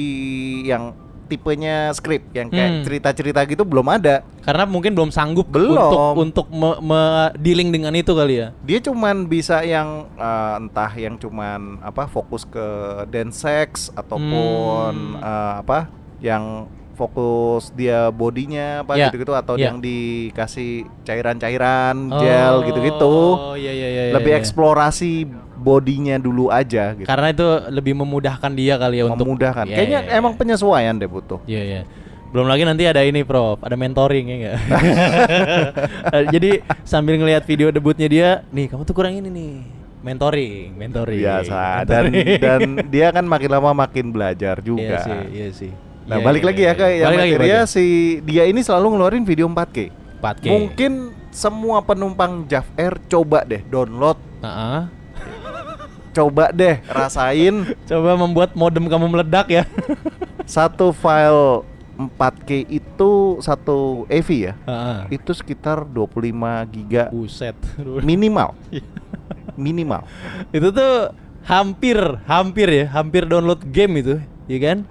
Speaker 5: yang tipenya skrip yang kayak
Speaker 4: Hmm.
Speaker 5: cerita-cerita gitu belum ada.
Speaker 4: Karena mungkin belum sanggup
Speaker 5: Belum.
Speaker 4: untuk untuk me- me- dealing dengan itu kali ya.
Speaker 5: Dia cuman bisa yang eh, entah yang cuman apa fokus ke dance sex
Speaker 4: Hmm.
Speaker 5: ataupun eh, apa yang fokus dia bodinya apa
Speaker 4: Ya,
Speaker 5: gitu-gitu atau
Speaker 4: ya.
Speaker 5: yang dikasih cairan-cairan gel
Speaker 4: Oh,
Speaker 5: gitu-gitu.
Speaker 4: iya iya iya. iya,
Speaker 5: Lebih
Speaker 4: iya.
Speaker 5: eksplorasi bodinya dulu aja gitu.
Speaker 4: Karena itu lebih memudahkan dia kali ya untuk
Speaker 5: memudahkan.
Speaker 4: Iya,
Speaker 5: Kayaknya
Speaker 4: iya, iya.
Speaker 5: emang penyesuaian deh butuh.
Speaker 4: Iya iya. Belum lagi nanti ada ini, Prof. Ada mentoring ya enggak?
Speaker 5: *laughs*
Speaker 4: Jadi sambil ngelihat video debutnya dia, nih kamu tuh kurang ini nih. Mentoring, mentoring. *laughs*
Speaker 5: Biasa Iya, dan
Speaker 4: mentoring.
Speaker 5: dan dia kan makin lama makin
Speaker 4: *laughs* Iya
Speaker 5: belajar juga.
Speaker 4: sih, iya sih.
Speaker 5: Nah,
Speaker 4: Iya,
Speaker 5: balik
Speaker 4: iya,
Speaker 5: lagi
Speaker 4: iya,
Speaker 5: ya ke
Speaker 4: iya.
Speaker 5: yang
Speaker 4: Balik lagi,
Speaker 5: material
Speaker 4: balik
Speaker 5: si dia ini selalu ngeluarin video 4K.
Speaker 4: lagi. 4K.
Speaker 5: Mungkin semua penumpang JAF Air coba deh download,
Speaker 4: Heeh.
Speaker 5: coba deh rasain
Speaker 4: *laughs* Coba membuat modem kamu meledak
Speaker 5: *laughs*
Speaker 4: ya.
Speaker 5: satu file 4K itu satu AV ya.
Speaker 4: Heeh.
Speaker 5: Itu sekitar 25 giga
Speaker 4: Buset. *laughs*
Speaker 5: minimal. Minimal.
Speaker 4: itu tuh hampir hampir ya, hampir download game itu, ya
Speaker 5: *laughs*
Speaker 4: kan?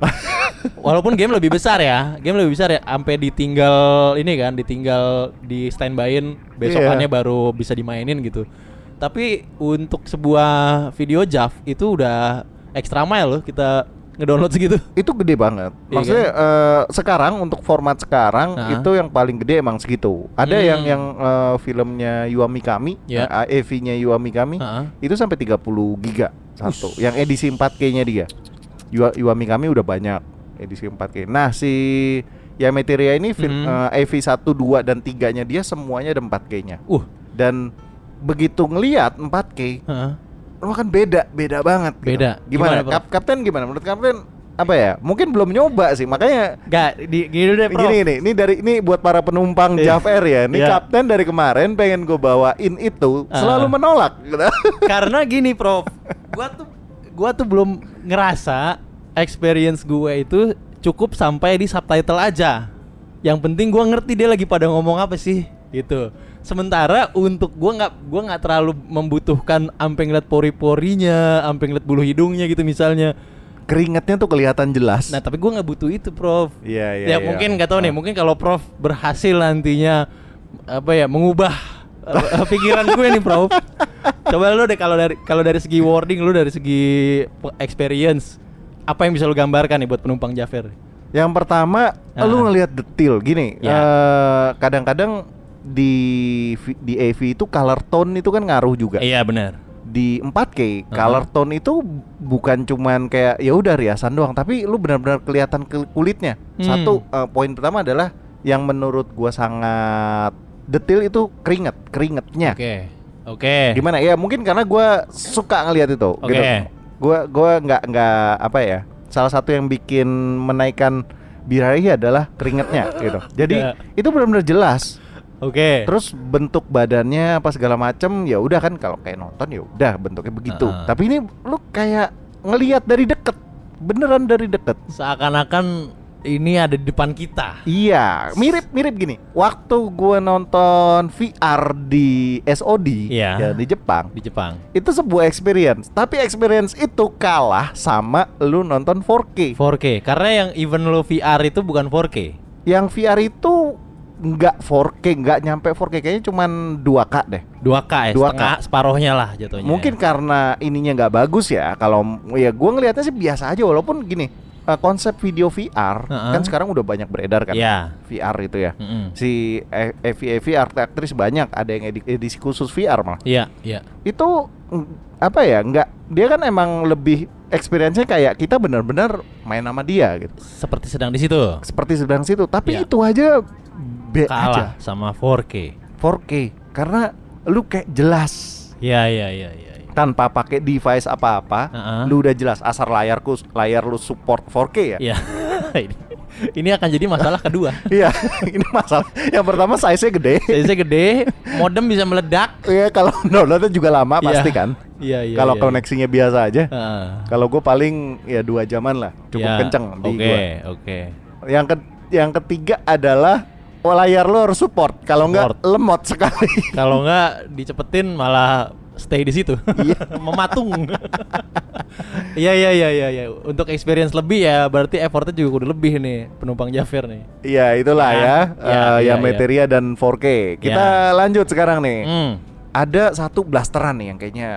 Speaker 4: Walaupun game lebih besar ya, game lebih besar ya, sampai ditinggal ini kan, ditinggal di standbyin besokannya
Speaker 5: Iya.
Speaker 4: baru bisa dimainin gitu. Tapi untuk sebuah video JAV itu udah extra mile loh kita ngedownload segitu.
Speaker 5: Itu gede banget.
Speaker 4: Iya
Speaker 5: Maksudnya eh, sekarang untuk format sekarang
Speaker 4: Nah.
Speaker 5: itu yang paling gede emang segitu. Ada
Speaker 4: Hmm.
Speaker 5: yang yang eh, filmnya Yuami Kami,
Speaker 4: Ya.
Speaker 5: eh, AV-nya Yuami Kami.
Speaker 4: Heeh.
Speaker 5: itu sampai 30 giga satu yang edisi 4K-nya dia Yua- Yuami kami udah banyak edisi 4K nah si Yameteria ini film
Speaker 4: Hmm.
Speaker 5: eh, AV1 2 dan 3-nya dia semuanya ada 4K-nya
Speaker 4: Uh.
Speaker 5: dan begitu ngelihat 4K
Speaker 4: Heeh.
Speaker 5: wah kan beda beda banget gitu.
Speaker 4: Beda.
Speaker 5: gimana,
Speaker 4: Gimana, Prof?
Speaker 5: Kap- kapten gimana menurut kapten apa ya mungkin belum nyoba sih makanya
Speaker 4: Gak, di, gini dulu deh, Iya, Prof.
Speaker 5: Gini nih, ini dari ini buat para penumpang
Speaker 4: Iya.
Speaker 5: JAF Air ya. Ini
Speaker 4: Iya.
Speaker 5: kapten dari kemarin pengen gue bawain itu
Speaker 4: Ah.
Speaker 5: selalu menolak. gitu. *laughs*
Speaker 4: Karena gini, Prof. Gua tuh gua tuh belum ngerasa experience gue itu cukup sampai di subtitle aja. Yang penting gua ngerti dia lagi pada ngomong apa sih gitu. Sementara untuk gua nggak gua nggak terlalu membutuhkan ampe ngeliat pori-porinya, ampe ngeliat bulu hidungnya gitu misalnya.
Speaker 5: keringatnya tuh kelihatan jelas.
Speaker 4: Nah, tapi gua nggak butuh itu, Prof.
Speaker 5: Iya, iya,
Speaker 4: Ya
Speaker 5: iya.
Speaker 4: mungkin nggak tahu nih,
Speaker 5: Ah.
Speaker 4: mungkin kalau Prof berhasil nantinya apa ya mengubah eh,
Speaker 5: *laughs*
Speaker 4: pikiran gue nih, Prof. Coba lu deh kalau dari kalau dari segi wording lu dari segi pe- experience apa yang bisa lu gambarkan nih buat penumpang Jafer?
Speaker 5: Yang pertama,
Speaker 4: Ah.
Speaker 5: lu ngelihat detil gini.
Speaker 4: Ya.
Speaker 5: eh, kadang-kadang di vi- di AV itu color tone itu kan ngaruh juga.
Speaker 4: Iya benar.
Speaker 5: Di 4K, color tone itu bukan cuman kayak ya udah riasan doang, tapi lu benar-benar kelihatan ke kulitnya.
Speaker 4: Hmm.
Speaker 5: Satu eh, poin pertama adalah yang menurut gua sangat detil itu keringet, keringetnya.
Speaker 4: Oke. Oke.
Speaker 5: Gimana ya? Mungkin karena gua suka ngelihat itu
Speaker 4: Oke.
Speaker 5: gitu. Gua gua nggak nggak apa ya? Salah satu yang bikin menaikkan birahi adalah keringetnya gitu. Jadi
Speaker 4: Ya.
Speaker 5: itu benar-benar jelas.
Speaker 4: Oke.
Speaker 5: Terus bentuk badannya apa segala macem ya udah kan kalau kayak nonton ya udah bentuknya begitu.
Speaker 4: Heeh.
Speaker 5: Tapi ini lu kayak ngelihat dari deket, beneran dari deket.
Speaker 4: Seakan-akan ini ada di depan kita.
Speaker 5: Iya, mirip-mirip gini. Waktu gua nonton VR di SOD
Speaker 4: Iya.
Speaker 5: ya, di Jepang,
Speaker 4: Di Jepang.
Speaker 5: itu sebuah experience tapi experience itu kalah sama lu nonton 4K
Speaker 4: 4K. Karena yang event lu VR itu bukan 4K.
Speaker 5: yang VR itu nggak 4K nggak nyampe 4K kayaknya cuman 2K deh
Speaker 4: 2K ya,
Speaker 5: 2K.
Speaker 4: setengah separohnya lah jatuhnya.
Speaker 5: mungkin karena ininya nggak bagus ya kalau ya gua ngelihatnya sih biasa aja walaupun gini eh, konsep video VR
Speaker 4: Heeh.
Speaker 5: kan sekarang udah banyak beredar kan
Speaker 4: Iya.
Speaker 5: VR itu ya
Speaker 4: Mm-mm.
Speaker 5: si E, EV EV aktris banyak ada yang edi- edisi khusus VR malah
Speaker 4: Iya, iya.
Speaker 5: itu mm, apa ya nggak dia kan emang lebih experience-nya kayak kita benar-benar main sama dia gitu
Speaker 4: Seperti sedang di situ.
Speaker 5: seperti sedang situ tapi
Speaker 4: Iya.
Speaker 5: itu aja B
Speaker 4: Kalah
Speaker 5: aja
Speaker 4: sama 4K.
Speaker 5: 4K karena lu kayak jelas
Speaker 4: Iya, iya, iya, iya. iya.
Speaker 5: tanpa pakai device apa-apa
Speaker 4: Heeh.
Speaker 5: lu udah jelas asal layarku layar lu support 4K ya
Speaker 4: Iya. *laughs* ini, ini akan jadi masalah kedua.
Speaker 5: iya ini masalah yang pertama *laughs* size-nya
Speaker 4: *laughs*
Speaker 5: gede
Speaker 4: Size gede, modem bisa meledak.
Speaker 5: ya kalau downloadnya juga lama
Speaker 4: Iya.
Speaker 5: pasti kan
Speaker 4: Iya, iya.
Speaker 5: kalau
Speaker 4: iya, iya.
Speaker 5: koneksinya biasa aja
Speaker 4: Heeh.
Speaker 5: kalau gue paling ya dua jaman lah cukup
Speaker 4: Iya.
Speaker 5: kenceng di
Speaker 4: Oke,
Speaker 5: gua.
Speaker 4: oke.
Speaker 5: Yang ke yang ketiga adalah oh, layar lo harus support. Kalau nggak
Speaker 4: Support.
Speaker 5: lemot sekali. *laughs*
Speaker 4: Kalau nggak dicepetin malah stay di situ. *laughs* Mematung. Iya iya iya iya iya. Untuk experience lebih ya berarti effortnya juga udah lebih nih penumpang Jafir nih.
Speaker 5: Iya itulah
Speaker 4: Ya,
Speaker 5: ya,
Speaker 4: ya,
Speaker 5: eh,
Speaker 4: ya,
Speaker 5: yang Materia dan 4K. Kita
Speaker 4: Ya.
Speaker 5: lanjut sekarang nih.
Speaker 4: Hmm.
Speaker 5: Ada satu blasteran nih yang kayaknya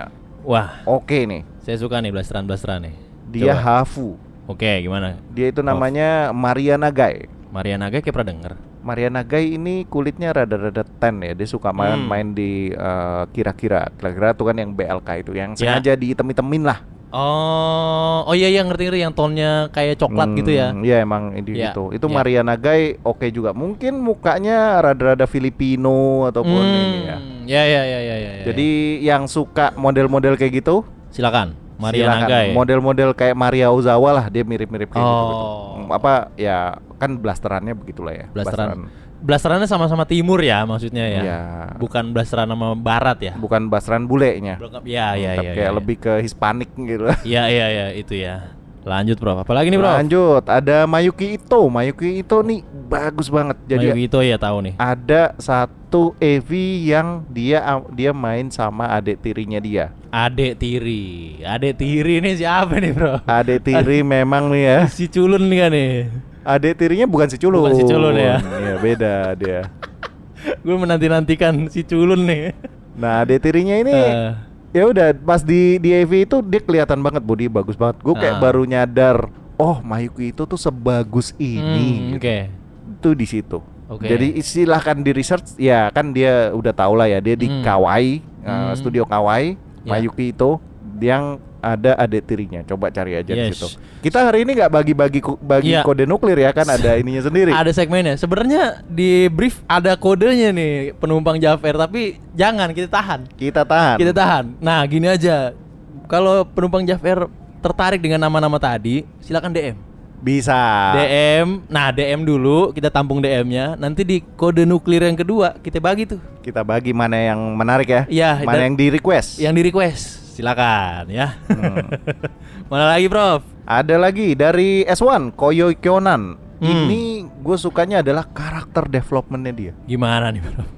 Speaker 4: Wah,
Speaker 5: oke nih.
Speaker 4: saya suka nih blasteran-blasteran nih.
Speaker 5: Dia
Speaker 4: Coba.
Speaker 5: Hafu.
Speaker 4: Oke, gimana?
Speaker 5: Dia itu namanya Maria Nagai.
Speaker 4: Maria Naga kayak pernah denger.
Speaker 5: Maria Nagai ini kulitnya rada-rada tan ya. Dia suka
Speaker 4: Hmm.
Speaker 5: main-main di eh, kira-kira. Kira-kira tuh kan yang BLK itu yang
Speaker 4: Ya.
Speaker 5: sengaja diitem-itemin lah.
Speaker 4: Oh, oh iya iya ngerti-ngerti yang tonnya kayak coklat
Speaker 5: Hmm,
Speaker 4: gitu ya.
Speaker 5: Iya emang ini
Speaker 4: Ya,
Speaker 5: gitu. Itu
Speaker 4: ya.
Speaker 5: Maria Nagai oke juga. Mungkin mukanya rada-rada Filipino ataupun ini ya.
Speaker 4: Hmm, ya ya ya ya ya. ya.
Speaker 5: Jadi yang suka model-model kayak gitu
Speaker 4: silakan Maria
Speaker 5: silakan.
Speaker 4: Naga ya.
Speaker 5: Model-model kayak Maria Ozawa lah, dia mirip-mirip kayak gitu, gitu.
Speaker 4: Oh.
Speaker 5: Hmm, Apa ya kan blasterannya begitulah ya.
Speaker 4: Blasteran. Blasterannya sama-sama timur ya maksudnya ya.
Speaker 5: Iya.
Speaker 4: Bukan blasteran sama barat ya.
Speaker 5: Bukan blasteran bulenya.
Speaker 4: Belum- Ya ya
Speaker 5: Tapi
Speaker 4: ya.
Speaker 5: kayak
Speaker 4: ya,
Speaker 5: lebih ke Hispanik gitu.
Speaker 4: Ya ya ya itu ya. Lanjut Bro. Apalagi nih Bro?
Speaker 5: Lanjut, ada Mayuki Ito. Mayuki Ito nih bagus banget. Jadi
Speaker 4: Jadi itu ya tahu nih.
Speaker 5: ada satu EV yang dia ah, dia main sama adik tirinya dia.
Speaker 4: Adek tiri. Adek tiri ini siapa nih Bro?
Speaker 5: Adik
Speaker 4: *laughs*
Speaker 5: tiri memang nih ya.
Speaker 4: Si culun nih kan nih.
Speaker 5: Adik tirinya bukan si culun.
Speaker 4: Bukan si culun ya.
Speaker 5: Iya, beda dia.
Speaker 4: Gue menanti-nantikan si culun nih.
Speaker 5: Nah, adik tirinya ini
Speaker 4: Eh.
Speaker 5: ya udah pas di di EV itu dia kelihatan banget body bagus banget. Gue
Speaker 4: Ah.
Speaker 5: kayak baru nyadar, oh Mayuki itu tuh sebagus
Speaker 4: Hmm,
Speaker 5: ini.
Speaker 4: Oke.
Speaker 5: gitu. Itu di situ.
Speaker 4: Oke.
Speaker 5: Jadi silahkan di research ya kan dia udah tau lah ya dia di
Speaker 4: Hmm.
Speaker 5: Kawai, eh,
Speaker 4: Hmm.
Speaker 5: studio Kawai,
Speaker 4: Ya.
Speaker 5: Mayuki itu yang ada adik tirinya. Coba cari aja di
Speaker 4: Yes.
Speaker 5: situ. Kita hari ini nggak bagi-bagi ku- bagi
Speaker 4: Iya.
Speaker 5: kode nuklir ya kan ada
Speaker 4: *laughs*
Speaker 5: ininya sendiri.
Speaker 4: Ada segmennya. Sebenarnya di brief ada kodenya nih penumpang Jafar tapi jangan kita tahan.
Speaker 5: Kita tahan.
Speaker 4: Kita tahan. Nah, gini aja. Kalau penumpang Jafar tertarik dengan nama-nama tadi, silakan DM.
Speaker 5: Bisa.
Speaker 4: DM. Nah, DM dulu kita tampung DM-nya. Nanti di kode nuklir yang kedua kita bagi tuh
Speaker 5: Kita bagi mana yang menarik ya.
Speaker 4: Iya, dan- Iya.
Speaker 5: Mana yang di request.
Speaker 4: yang di request. Silakan ya.
Speaker 5: Hmm.
Speaker 4: *laughs* Mana lagi, Prof?
Speaker 5: Ada lagi dari S1 Koyo Kyonan.
Speaker 4: Hmm.
Speaker 5: Ini gue sukanya adalah karakter developmentnya dia.
Speaker 4: Gimana nih,
Speaker 5: *laughs*
Speaker 4: Prof?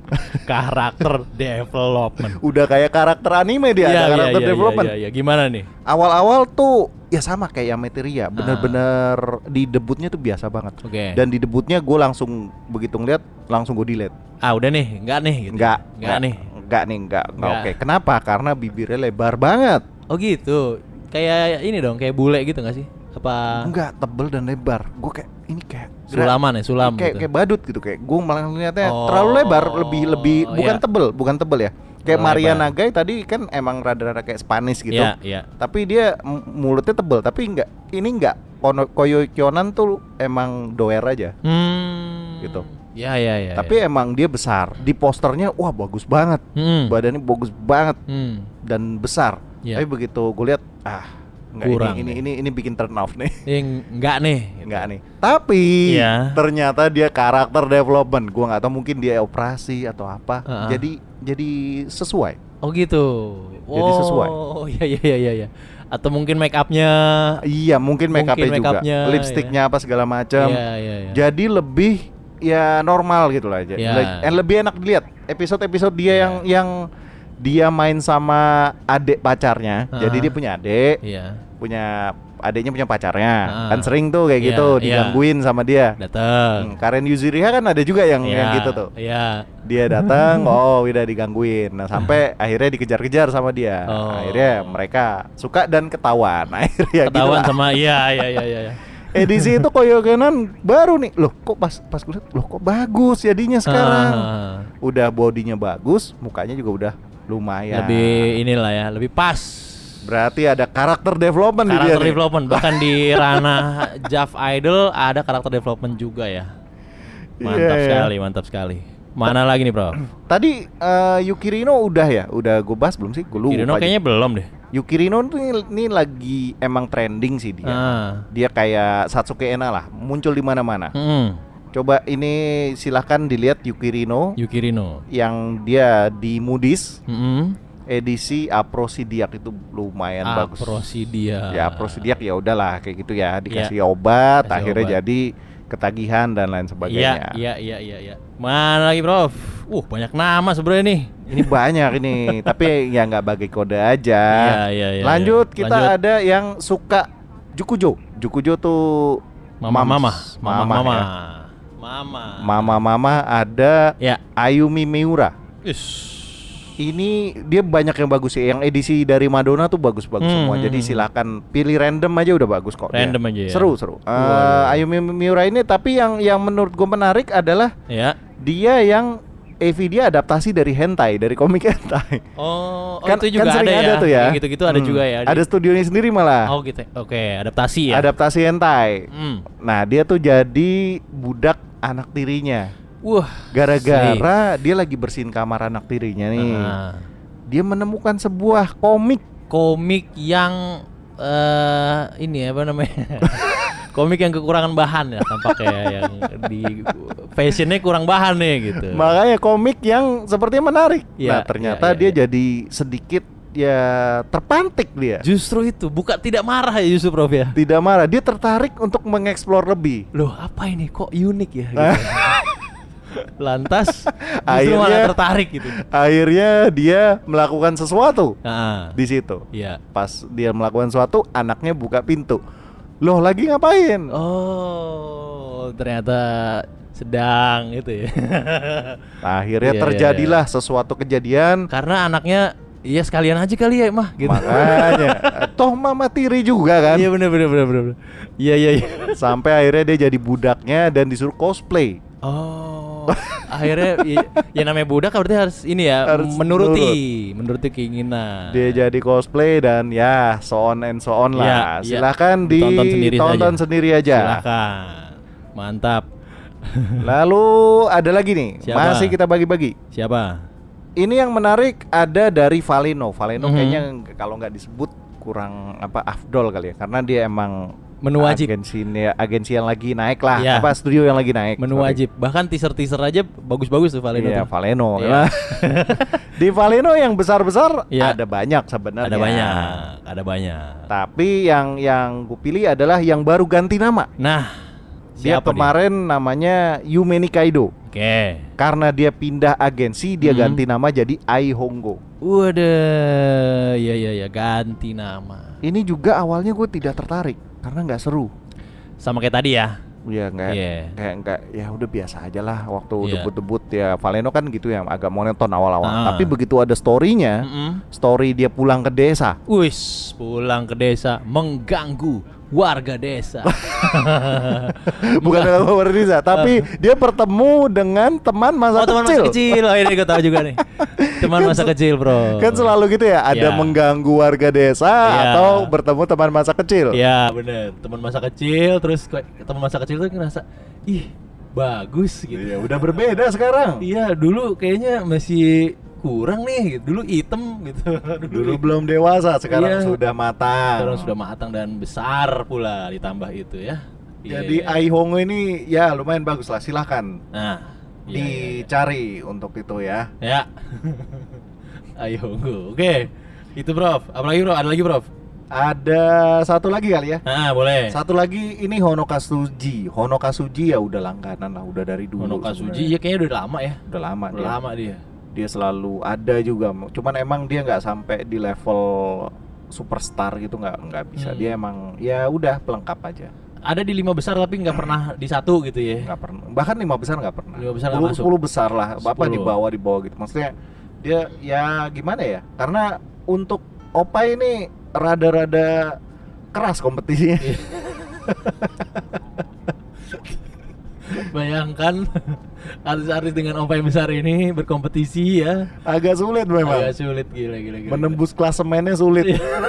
Speaker 4: Karakter development.
Speaker 5: Udah kayak karakter anime dia, Iya, ada karakter development.
Speaker 4: iya, iya. Gimana nih?
Speaker 5: Awal-awal tuh ya sama kayak Materia, bener-bener di debutnya tuh biasa banget.
Speaker 4: Ah. Oke.
Speaker 5: Dan di debutnya gue langsung begitu ngeliat langsung gue delete.
Speaker 4: Ah, udah nih, enggak nih gitu.
Speaker 5: Enggak,
Speaker 4: Enggak nih.
Speaker 5: enggak nih, enggak, enggak
Speaker 4: Nggak.
Speaker 5: oke. Kenapa? Karena bibirnya lebar banget.
Speaker 4: Oh, gitu. Kayak ini dong, kayak bule gitu enggak sih? Apa
Speaker 5: Enggak, tebel dan lebar. Gue kayak ini kayak gerak-
Speaker 4: sulaman ya, sulam
Speaker 5: kayak
Speaker 4: gitu.
Speaker 5: kayak badut gitu kayak gue malah ngeliatnya
Speaker 4: Oh,
Speaker 5: terlalu lebar lebih lebih bukan
Speaker 4: iya.
Speaker 5: tebel bukan tebel ya kayak
Speaker 4: Terlalu
Speaker 5: Maria
Speaker 4: lebar.
Speaker 5: Nagai tadi kan emang rada-rada kayak Spanish gitu
Speaker 4: Iya, iya.
Speaker 5: tapi dia m- mulutnya tebel tapi enggak ini enggak Kono, Koyo Kyonan tuh emang doer aja
Speaker 4: Hmm.
Speaker 5: Gitu.
Speaker 4: Ya ya ya.
Speaker 5: tapi emang dia besar di posternya wah bagus banget
Speaker 4: ya. Hmm.
Speaker 5: badannya bagus banget
Speaker 4: Hmm.
Speaker 5: dan besar
Speaker 4: Iya.
Speaker 5: tapi begitu gue lihat ah enggak
Speaker 4: Kurang ya.
Speaker 5: ini, ini
Speaker 4: nih.
Speaker 5: ini ini bikin turn off nih
Speaker 4: Yang enggak nih. gitu.
Speaker 5: Enggak nih. Tapi
Speaker 4: Iya.
Speaker 5: ternyata dia karakter development. Gua nggak tahu mungkin dia operasi atau apa.
Speaker 4: Heeh.
Speaker 5: Jadi jadi sesuai.
Speaker 4: Oh gitu.
Speaker 5: Jadi sesuai.
Speaker 4: Oh *laughs* iya iya iya iya. iya. Atau mungkin make upnya.
Speaker 5: Iya, mungkin
Speaker 4: Mungkin
Speaker 5: make up-nya
Speaker 4: make
Speaker 5: juga.
Speaker 4: up-nya,
Speaker 5: Lipstiknya apa segala macam.
Speaker 4: Iya iya iya.
Speaker 5: Jadi lebih ya normal gitu lah aja.
Speaker 4: Iya.
Speaker 5: Le- and lebih enak dilihat. Episode-episode dia yang yang dia main sama adik pacarnya. Jadi
Speaker 4: Heeh.
Speaker 5: dia punya adik,
Speaker 4: Iya.
Speaker 5: punya adiknya punya pacarnya.
Speaker 4: Heeh.
Speaker 5: Kan sering tuh kayak
Speaker 4: Iya,
Speaker 5: gitu
Speaker 4: iya.
Speaker 5: digangguin sama dia. Hmm,
Speaker 4: Datang.
Speaker 5: Karen Yuzuriha kan ada juga yang yang
Speaker 4: Iya,
Speaker 5: gitu tuh.
Speaker 4: Iya.
Speaker 5: dia
Speaker 4: *laughs*
Speaker 5: datang oh udah digangguin nah sampai akhirnya dikejar-kejar sama dia
Speaker 4: Oh.
Speaker 5: akhirnya mereka suka dan ketahuan *laughs* akhirnya
Speaker 4: Ketahuan
Speaker 5: gitu lah.
Speaker 4: sama iya iya iya iya. iya.
Speaker 5: edisi itu koyokenan baru nih loh kok pas pas gue liat, loh kok bagus jadinya *laughs* sekarang
Speaker 4: Ah,
Speaker 5: udah bodinya bagus mukanya juga udah
Speaker 4: *laughs*
Speaker 5: lumayan
Speaker 4: Lebih inilah ya, lebih pas.
Speaker 5: berarti ada karakter development di dia
Speaker 4: Karakter
Speaker 5: Kan nih.
Speaker 4: development bahkan
Speaker 5: *laughs*
Speaker 4: di ranah Jav Idol ada karakter development juga ya. Mantap
Speaker 5: Iya, iya.
Speaker 4: sekali, mantap sekali. Mana lagi nih, Bro?
Speaker 5: tadi eh, Yukirino udah ya udah gue bahas belum sih gue lupa
Speaker 4: Kirino
Speaker 5: jadi.
Speaker 4: kayaknya belum deh.
Speaker 5: Yukirino tuh ini- ini lagi emang trending sih dia
Speaker 4: Ah.
Speaker 5: dia kayak Satsuki Ena lah muncul di mana-mana
Speaker 4: Mm-mm.
Speaker 5: Coba ini silahkan dilihat Yukirino
Speaker 4: Yukirino.
Speaker 5: yang dia di Moody's
Speaker 4: Mm-mm.
Speaker 5: edisi Aprosidiak itu lumayan bagus.
Speaker 4: Aprosidia.
Speaker 5: Ya Aprosidiak ya udahlah kayak gitu ya dikasih
Speaker 4: Iya.
Speaker 5: obat
Speaker 4: Kasih
Speaker 5: akhirnya
Speaker 4: obat.
Speaker 5: jadi ketagihan dan lain sebagainya.
Speaker 4: Iya, iya, iya, iya, iya. Mana lagi, Prof? Uh, banyak nama sebenarnya nih.
Speaker 5: Ini banyak
Speaker 4: *laughs*
Speaker 5: ini, tapi ya nggak bagi kode aja.
Speaker 4: Iya, iya, iya,
Speaker 5: Lanjut
Speaker 4: iya.
Speaker 5: kita
Speaker 4: Lanjut.
Speaker 5: ada yang suka Jukujo. Jukujo tuh
Speaker 4: Mama,
Speaker 5: mams.
Speaker 4: mama, mama,
Speaker 5: Mama,
Speaker 4: mama.
Speaker 5: ya.
Speaker 4: Mama.
Speaker 5: mama, mama ada
Speaker 4: Ya.
Speaker 5: Ayumi Miura.
Speaker 4: Is.
Speaker 5: Ini dia banyak yang bagus sih. Yang edisi dari Madonna tuh bagus-bagus
Speaker 4: Hmm,
Speaker 5: semua.
Speaker 4: hmm,
Speaker 5: Jadi
Speaker 4: hmm.
Speaker 5: silakan pilih random aja udah bagus kok. dia.
Speaker 4: Random aja ya.
Speaker 5: Seru seru. Eh, Ayumi Miura ini tapi yang yang menurut gue menarik adalah
Speaker 4: Ya.
Speaker 5: dia yang AV dia adaptasi dari hentai dari komik hentai.
Speaker 4: *laughs* Oh, oh,
Speaker 5: kan,
Speaker 4: itu juga ada,
Speaker 5: kan sering
Speaker 4: ya.
Speaker 5: tuh ya.
Speaker 4: Kayak gitu-gitu ada
Speaker 5: Hmm.
Speaker 4: juga ya.
Speaker 5: Ada studionya sendiri malah.
Speaker 4: Oh gitu. Oke, adaptasi ya.
Speaker 5: Adaptasi hentai.
Speaker 4: Hmm.
Speaker 5: Nah, dia tuh jadi budak anak tirinya.
Speaker 4: Wah,
Speaker 5: Gara-gara dia lagi bersihin kamar anak tirinya nih.
Speaker 4: Ah.
Speaker 5: Dia menemukan sebuah komik.
Speaker 4: komik yang eh ini apa namanya? *laughs* komik yang kekurangan bahan ya tampaknya ya, yang di fashionnya kurang bahan nih gitu.
Speaker 5: Makanya komik yang sepertinya menarik.
Speaker 4: Ya,
Speaker 5: nah,
Speaker 4: ya,
Speaker 5: ternyata
Speaker 4: ya,
Speaker 5: dia
Speaker 4: ya.
Speaker 5: jadi sedikit ya terpantik dia.
Speaker 4: Justru itu buka tidak marah ya justru Prof ya.
Speaker 5: Tidak marah, dia tertarik untuk mengeksplor lebih.
Speaker 4: Loh, apa ini kok unik ya
Speaker 5: *laughs*
Speaker 4: gitu. Lantas justru malah
Speaker 5: Akhirnya-
Speaker 4: tertarik gitu.
Speaker 5: Akhirnya dia melakukan sesuatu
Speaker 4: Nah,
Speaker 5: di situ.
Speaker 4: iya.
Speaker 5: Pas dia melakukan sesuatu, anaknya buka pintu. Loh, lagi ngapain?
Speaker 4: Oh, ternyata sedang gitu ya. *laughs* Iya,
Speaker 5: Akhirnya
Speaker 4: iya,
Speaker 5: terjadilah sesuatu kejadian
Speaker 4: Karena anaknya ya sekalian aja kali ya, mah gitu.
Speaker 5: makanya
Speaker 4: *laughs*
Speaker 5: toh mama tiri juga kan
Speaker 4: Iya bener bener bener bener. bener. Iya iya iya.
Speaker 5: sampai akhirnya dia jadi budaknya dan disuruh cosplay
Speaker 4: Oh, *laughs* akhirnya ya, ya namanya budak berarti harus ini ya
Speaker 5: Harus
Speaker 4: menuruti menuruti keinginan.
Speaker 5: dia jadi cosplay dan ya so on and so on lah
Speaker 4: Ya, ya.
Speaker 5: silahkan
Speaker 4: Ditonton sendiri
Speaker 5: ditonton
Speaker 4: saja.
Speaker 5: sendiri aja
Speaker 4: *laughs* Silakan. Mantap. *laughs*
Speaker 5: lalu ada lagi nih
Speaker 4: Siapa?
Speaker 5: masih kita bagi-bagi
Speaker 4: Siapa?
Speaker 5: ini yang menarik ada dari Valeno Valeno
Speaker 4: Mhm.
Speaker 5: kayaknya nggak- kalau nggak disebut kurang apa afdol kali ya karena dia emang
Speaker 4: Menu wajib.
Speaker 5: agensi agensi yang lagi naik lah
Speaker 4: Ya.
Speaker 5: apa studio yang lagi naik
Speaker 4: Menu
Speaker 5: Sorry.
Speaker 4: wajib. Bahkan teaser-teaser aja bagus-bagus tuh Valeno.
Speaker 5: Iya,
Speaker 4: tuh.
Speaker 5: Valeno.
Speaker 4: Iya. *laughs*
Speaker 5: Nah, di Valeno yang besar-besar
Speaker 4: Iya.
Speaker 5: ada banyak sebenarnya.
Speaker 4: Ada banyak,
Speaker 5: Iya.
Speaker 4: ada banyak.
Speaker 5: Tapi yang yang gue pilih adalah yang baru ganti nama.
Speaker 4: Nah,
Speaker 5: Dia
Speaker 4: siapa
Speaker 5: kemarin namanya Yumeni Kaido.
Speaker 4: Oke.
Speaker 5: Karena dia pindah agensi, dia
Speaker 4: Mhm.
Speaker 5: ganti nama jadi Ai Hongo.
Speaker 4: Waduh, ya ya ya ganti nama.
Speaker 5: Ini juga awalnya gue tidak tertarik karena nggak seru.
Speaker 4: Sama kayak tadi ya.
Speaker 5: Ya nggak,
Speaker 4: Iya.
Speaker 5: kayak nggak, ya udah biasa aja lah. Waktu
Speaker 4: Iya.
Speaker 5: debut-debut ya Valeno kan gitu ya, agak monoton awal-awal.
Speaker 4: Ah.
Speaker 5: Tapi begitu ada storynya,
Speaker 4: Mm-mm.
Speaker 5: story dia pulang ke desa. *laughs*
Speaker 4: Wis, pulang ke desa mengganggu warga
Speaker 5: *laughs*
Speaker 4: desa.
Speaker 5: bukan dalam Power Risa, tapi dia bertemu dengan Ah. teman masa
Speaker 4: oh, teman
Speaker 5: kecil.
Speaker 4: masa kecil. Oh, ini gue tahu juga nih. Teman masa kecil, Bro.
Speaker 5: Kan selalu gitu ya, ada
Speaker 4: Ya.
Speaker 5: mengganggu warga desa
Speaker 4: Ya.
Speaker 5: atau bertemu teman masa kecil.
Speaker 4: Iya, bener. Teman masa kecil terus kayak teman masa kecil tuh ngerasa, "Ih, bagus" gitu.
Speaker 5: Iya, udah berbeda sekarang.
Speaker 4: Iya, dulu kayaknya masih kurang nih. gitu. Dulu item gitu. *laughs*
Speaker 5: Dulu belum dewasa,
Speaker 4: Iya.
Speaker 5: sekarang sudah matang.
Speaker 4: Sekarang sudah matang dan besar pula ditambah itu ya. Iya,
Speaker 5: Jadi
Speaker 4: iya.
Speaker 5: Ai Hongo ini ya lumayan bagus lah, silahkan
Speaker 4: nah, iya, iya, iya.
Speaker 5: dicari untuk itu ya. *laughs*
Speaker 4: Ya. Ayo, go. Oke. Itu, Prof. Apalagi, Prof? Ada lagi, Prof?
Speaker 5: Ada satu lagi kali ya.
Speaker 4: Ah, boleh.
Speaker 5: Satu lagi ini Honokasuji. Honokasuji ya udah langganan lah, udah dari dulu.
Speaker 4: Honoka Suji
Speaker 5: sebenarnya.
Speaker 4: ya kayaknya udah lama ya.
Speaker 5: udah lama
Speaker 4: Udah
Speaker 5: dia.
Speaker 4: lama dia.
Speaker 5: dia selalu ada juga cuman emang dia nggak sampai di level superstar gitu nggak nggak bisa
Speaker 4: Hmm.
Speaker 5: dia emang ya udah pelengkap aja
Speaker 4: Ada di lima besar tapi nggak pernah di satu gitu ya.
Speaker 5: nggak pernah bahkan lima besar nggak pernah
Speaker 4: Lima besar nggak
Speaker 5: sepuluh,
Speaker 4: masuk.
Speaker 5: sepuluh besar lah
Speaker 4: Sepuluh.
Speaker 5: bapak di bawah di bawah gitu maksudnya dia ya gimana ya karena untuk opa ini rada-rada keras kompetisinya
Speaker 4: Iya. Bayangkan *laughs* artis-artis dengan opa yang besar ini berkompetisi ya.
Speaker 5: agak sulit memang
Speaker 4: Agak sulit gila gila gila.
Speaker 5: menembus klasemennya sulit
Speaker 4: Iya.
Speaker 5: *laughs*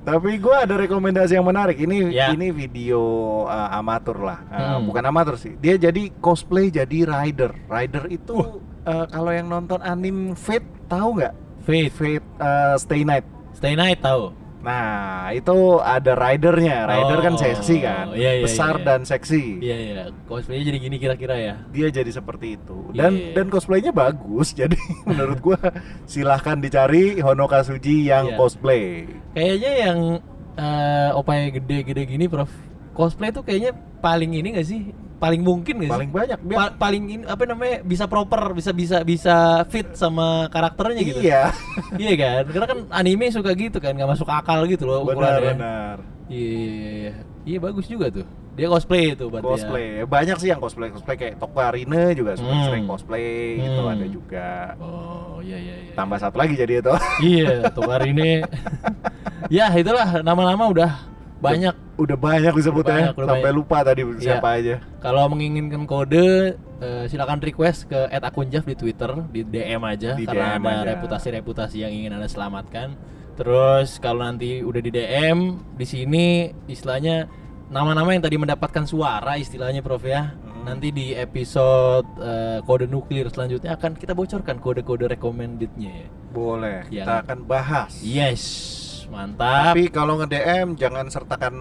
Speaker 5: Tapi gua ada rekomendasi yang menarik. Ini
Speaker 4: Ya.
Speaker 5: ini video uh, amatur lah, Uh,
Speaker 4: Hmm.
Speaker 5: bukan amatur sih. Dia jadi cosplay jadi rider. Rider itu uh, kalau yang nonton anim Fate tahu nggak?
Speaker 4: Faith,
Speaker 5: Fate uh, Stay Night.
Speaker 4: Stay Night tahu.
Speaker 5: Nah itu ada ridernya. Rider kan
Speaker 4: Oh,
Speaker 5: seksi kan,
Speaker 4: iya, iya,
Speaker 5: besar
Speaker 4: iya.
Speaker 5: dan seksi.
Speaker 4: Iya ya, cosplaynya jadi gini kira-kira ya.
Speaker 5: Dia jadi seperti itu dan
Speaker 4: Iya.
Speaker 5: dan cosplaynya bagus. *laughs* Jadi menurut gua silahkan dicari Honoka Suji
Speaker 4: Iya.
Speaker 5: yang cosplay.
Speaker 4: Kayaknya yang eh opa yang gede-gede gini, Prof. cosplay tuh kayaknya paling ini gak sih? Paling mungkin gak
Speaker 5: Paling
Speaker 4: sih?
Speaker 5: banyak, Beb.
Speaker 4: Pa- paling ini apa namanya? Bisa proper, bisa bisa bisa fit sama karakternya gitu.
Speaker 5: Iya.
Speaker 4: *laughs* iya kan? Karena kan anime suka gitu kan, nggak masuk akal gitu loh
Speaker 5: Benar,
Speaker 4: ukurannya.
Speaker 5: benar.
Speaker 4: Iya, iya, iya. Iya, bagus juga tuh. Dia cosplay tuh berarti. ya.
Speaker 5: Cosplay. Banyak sih yang cosplay cosplay kayak Toko Arine juga suka
Speaker 4: Hmm.
Speaker 5: sering cosplay gitu
Speaker 4: Hmm.
Speaker 5: ada juga.
Speaker 4: Oh, iya iya iya.
Speaker 5: Tambah satu lagi jadi itu.
Speaker 4: Iya, tuh hari
Speaker 5: *laughs*
Speaker 4: ini. ya, itulah nama-nama udah *laughs* banyak.
Speaker 5: Udah banyak
Speaker 4: Udah banyak, udah
Speaker 5: disebutnya sampai
Speaker 4: banyak. Iya.
Speaker 5: lupa tadi siapa aja.
Speaker 4: Kalau menginginkan kode eh, silakan request ke @akunjaf di Twitter, di DM aja
Speaker 5: Di
Speaker 4: karena
Speaker 5: DM
Speaker 4: ada
Speaker 5: aja.
Speaker 4: reputasi-reputasi yang ingin Anda selamatkan. Terus kalau nanti udah di DM di sini istilahnya nama-nama yang tadi mendapatkan suara istilahnya Prof ya.
Speaker 5: Hmm.
Speaker 4: Nanti di episode eh, kode nuklir selanjutnya akan kita bocorkan kode-kode recommended-nya ya.
Speaker 5: Boleh,
Speaker 4: Iya.
Speaker 5: kita akan bahas.
Speaker 4: Yes, mantap.
Speaker 5: Tapi kalau nge-DM jangan sertakan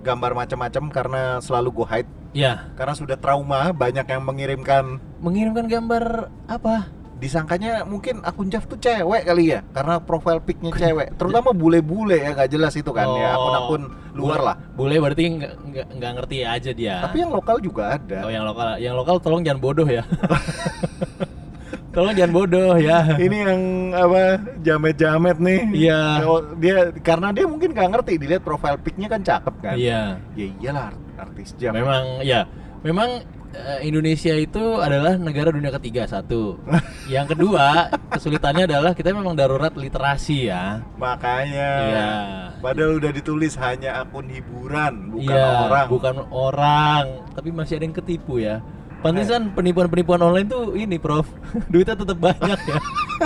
Speaker 5: gambar macam-macam karena selalu gue hide
Speaker 4: ya,
Speaker 5: karena sudah trauma banyak yang mengirimkan
Speaker 4: mengirimkan gambar apa?
Speaker 5: disangkanya mungkin akun Jav tuh cewek kali ya karena profile pic-nya cewek terutama bule-bule ya nggak jelas itu kan
Speaker 4: Oh.
Speaker 5: ya akun-akun luar lah
Speaker 4: Boleh berarti nggak nggak nggak ngerti aja dia.
Speaker 5: tapi yang lokal juga
Speaker 4: Iya.
Speaker 5: ada
Speaker 4: Oh yang lokal, yang lokal tolong jangan bodoh ya. *laughs* tolong jangan bodoh ya.
Speaker 5: ini yang apa jamet-jamet nih
Speaker 4: Iya.
Speaker 5: Kalau dia karena dia mungkin nggak ngerti dilihat profile pic-nya kan cakep kan
Speaker 4: Iya.
Speaker 5: ya iyalah art- artis jam
Speaker 4: Memang ya, memang eh, Indonesia itu adalah negara dunia ketiga
Speaker 5: *laughs*
Speaker 4: satu. Yang kedua kesulitannya adalah kita memang darurat literasi ya.
Speaker 5: makanya
Speaker 4: Iya.
Speaker 5: padahal udah ditulis hanya akun hiburan bukan
Speaker 4: Iya,
Speaker 5: orang
Speaker 4: Bukan orang, tapi masih ada yang ketipu ya. Pantesan penipuan-penipuan online tuh ini, Prof. *laughs* Duitnya tetap banyak
Speaker 5: *laughs*
Speaker 4: ya.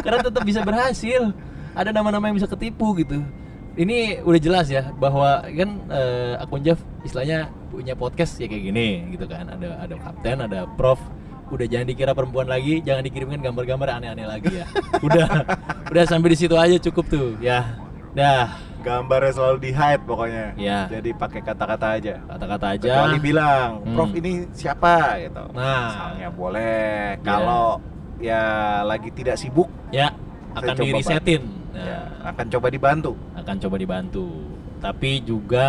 Speaker 4: Karena tetap bisa berhasil. Ada nama-nama yang bisa ketipu gitu. Ini udah jelas ya bahwa kan eh, akun Jav istilahnya punya podcast ya kayak gini gitu kan. Ada ada kapten, ada Prof. Udah jangan dikira perempuan lagi, jangan dikirimkan gambar-gambar aneh-aneh lagi
Speaker 5: *laughs*
Speaker 4: ya. Udah, udah sampai di situ aja cukup tuh ya. Dah,
Speaker 5: gambarnya selalu di hide pokoknya
Speaker 4: Iya.
Speaker 5: jadi pakai kata-kata aja
Speaker 4: kata-kata aja.
Speaker 5: kecuali bilang
Speaker 4: Hmm.
Speaker 5: prof ini siapa gitu
Speaker 4: Nah. Iya.
Speaker 5: misalnya boleh kalau ya lagi tidak sibuk
Speaker 4: Ya,
Speaker 5: Saya
Speaker 4: akan
Speaker 5: coba
Speaker 4: di resetin. Nah,
Speaker 5: ya akan coba dibantu
Speaker 4: akan coba dibantu. Tapi juga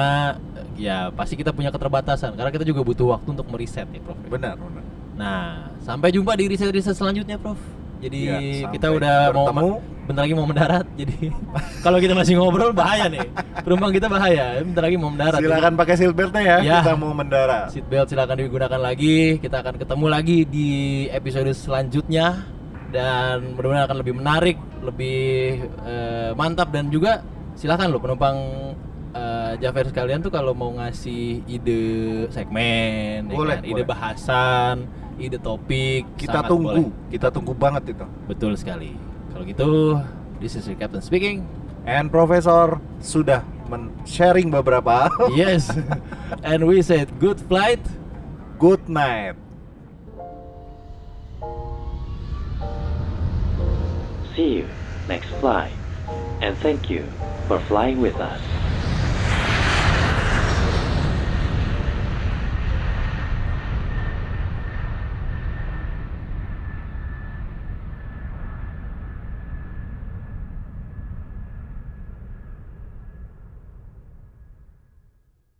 Speaker 4: eh, ya pasti kita punya keterbatasan karena kita juga butuh waktu untuk meriset ya, Prof.
Speaker 5: benar benar
Speaker 4: Nah, sampai jumpa di riset-riset selanjutnya, Prof. Jadi
Speaker 5: Ya,
Speaker 4: kita
Speaker 5: sampai
Speaker 4: udah
Speaker 5: bertemu.
Speaker 4: mau bentar lagi mau mendarat. Jadi *laughs* kalau kita masih ngobrol bahaya nih. Penumpang kita bahaya. Bentar lagi mau mendarat.
Speaker 5: silakan pakai seatbeltnya ya,
Speaker 4: Ya.
Speaker 5: kita mau mendarat
Speaker 4: Seatbelt silakan digunakan lagi. Kita akan ketemu lagi di episode selanjutnya dan mudah-mudahan akan lebih menarik, lebih eh, mantap dan juga silakan loh penumpang eh, Jafer sekalian tuh kalau mau ngasih ide segmen, ya
Speaker 5: Boleh,
Speaker 4: kan? ide
Speaker 5: boleh.
Speaker 4: bahasan, ide topik,
Speaker 5: kita
Speaker 4: sangat
Speaker 5: tunggu
Speaker 4: boleh.
Speaker 5: kita tunggu banget itu
Speaker 4: Betul sekali. Kalau gitu, this is your captain
Speaker 5: *laughs*
Speaker 4: speaking.
Speaker 5: and profesor sudah men sharing beberapa
Speaker 4: Yes. And we said good flight.
Speaker 5: good night
Speaker 2: See you next flight, and thank you for flying with us.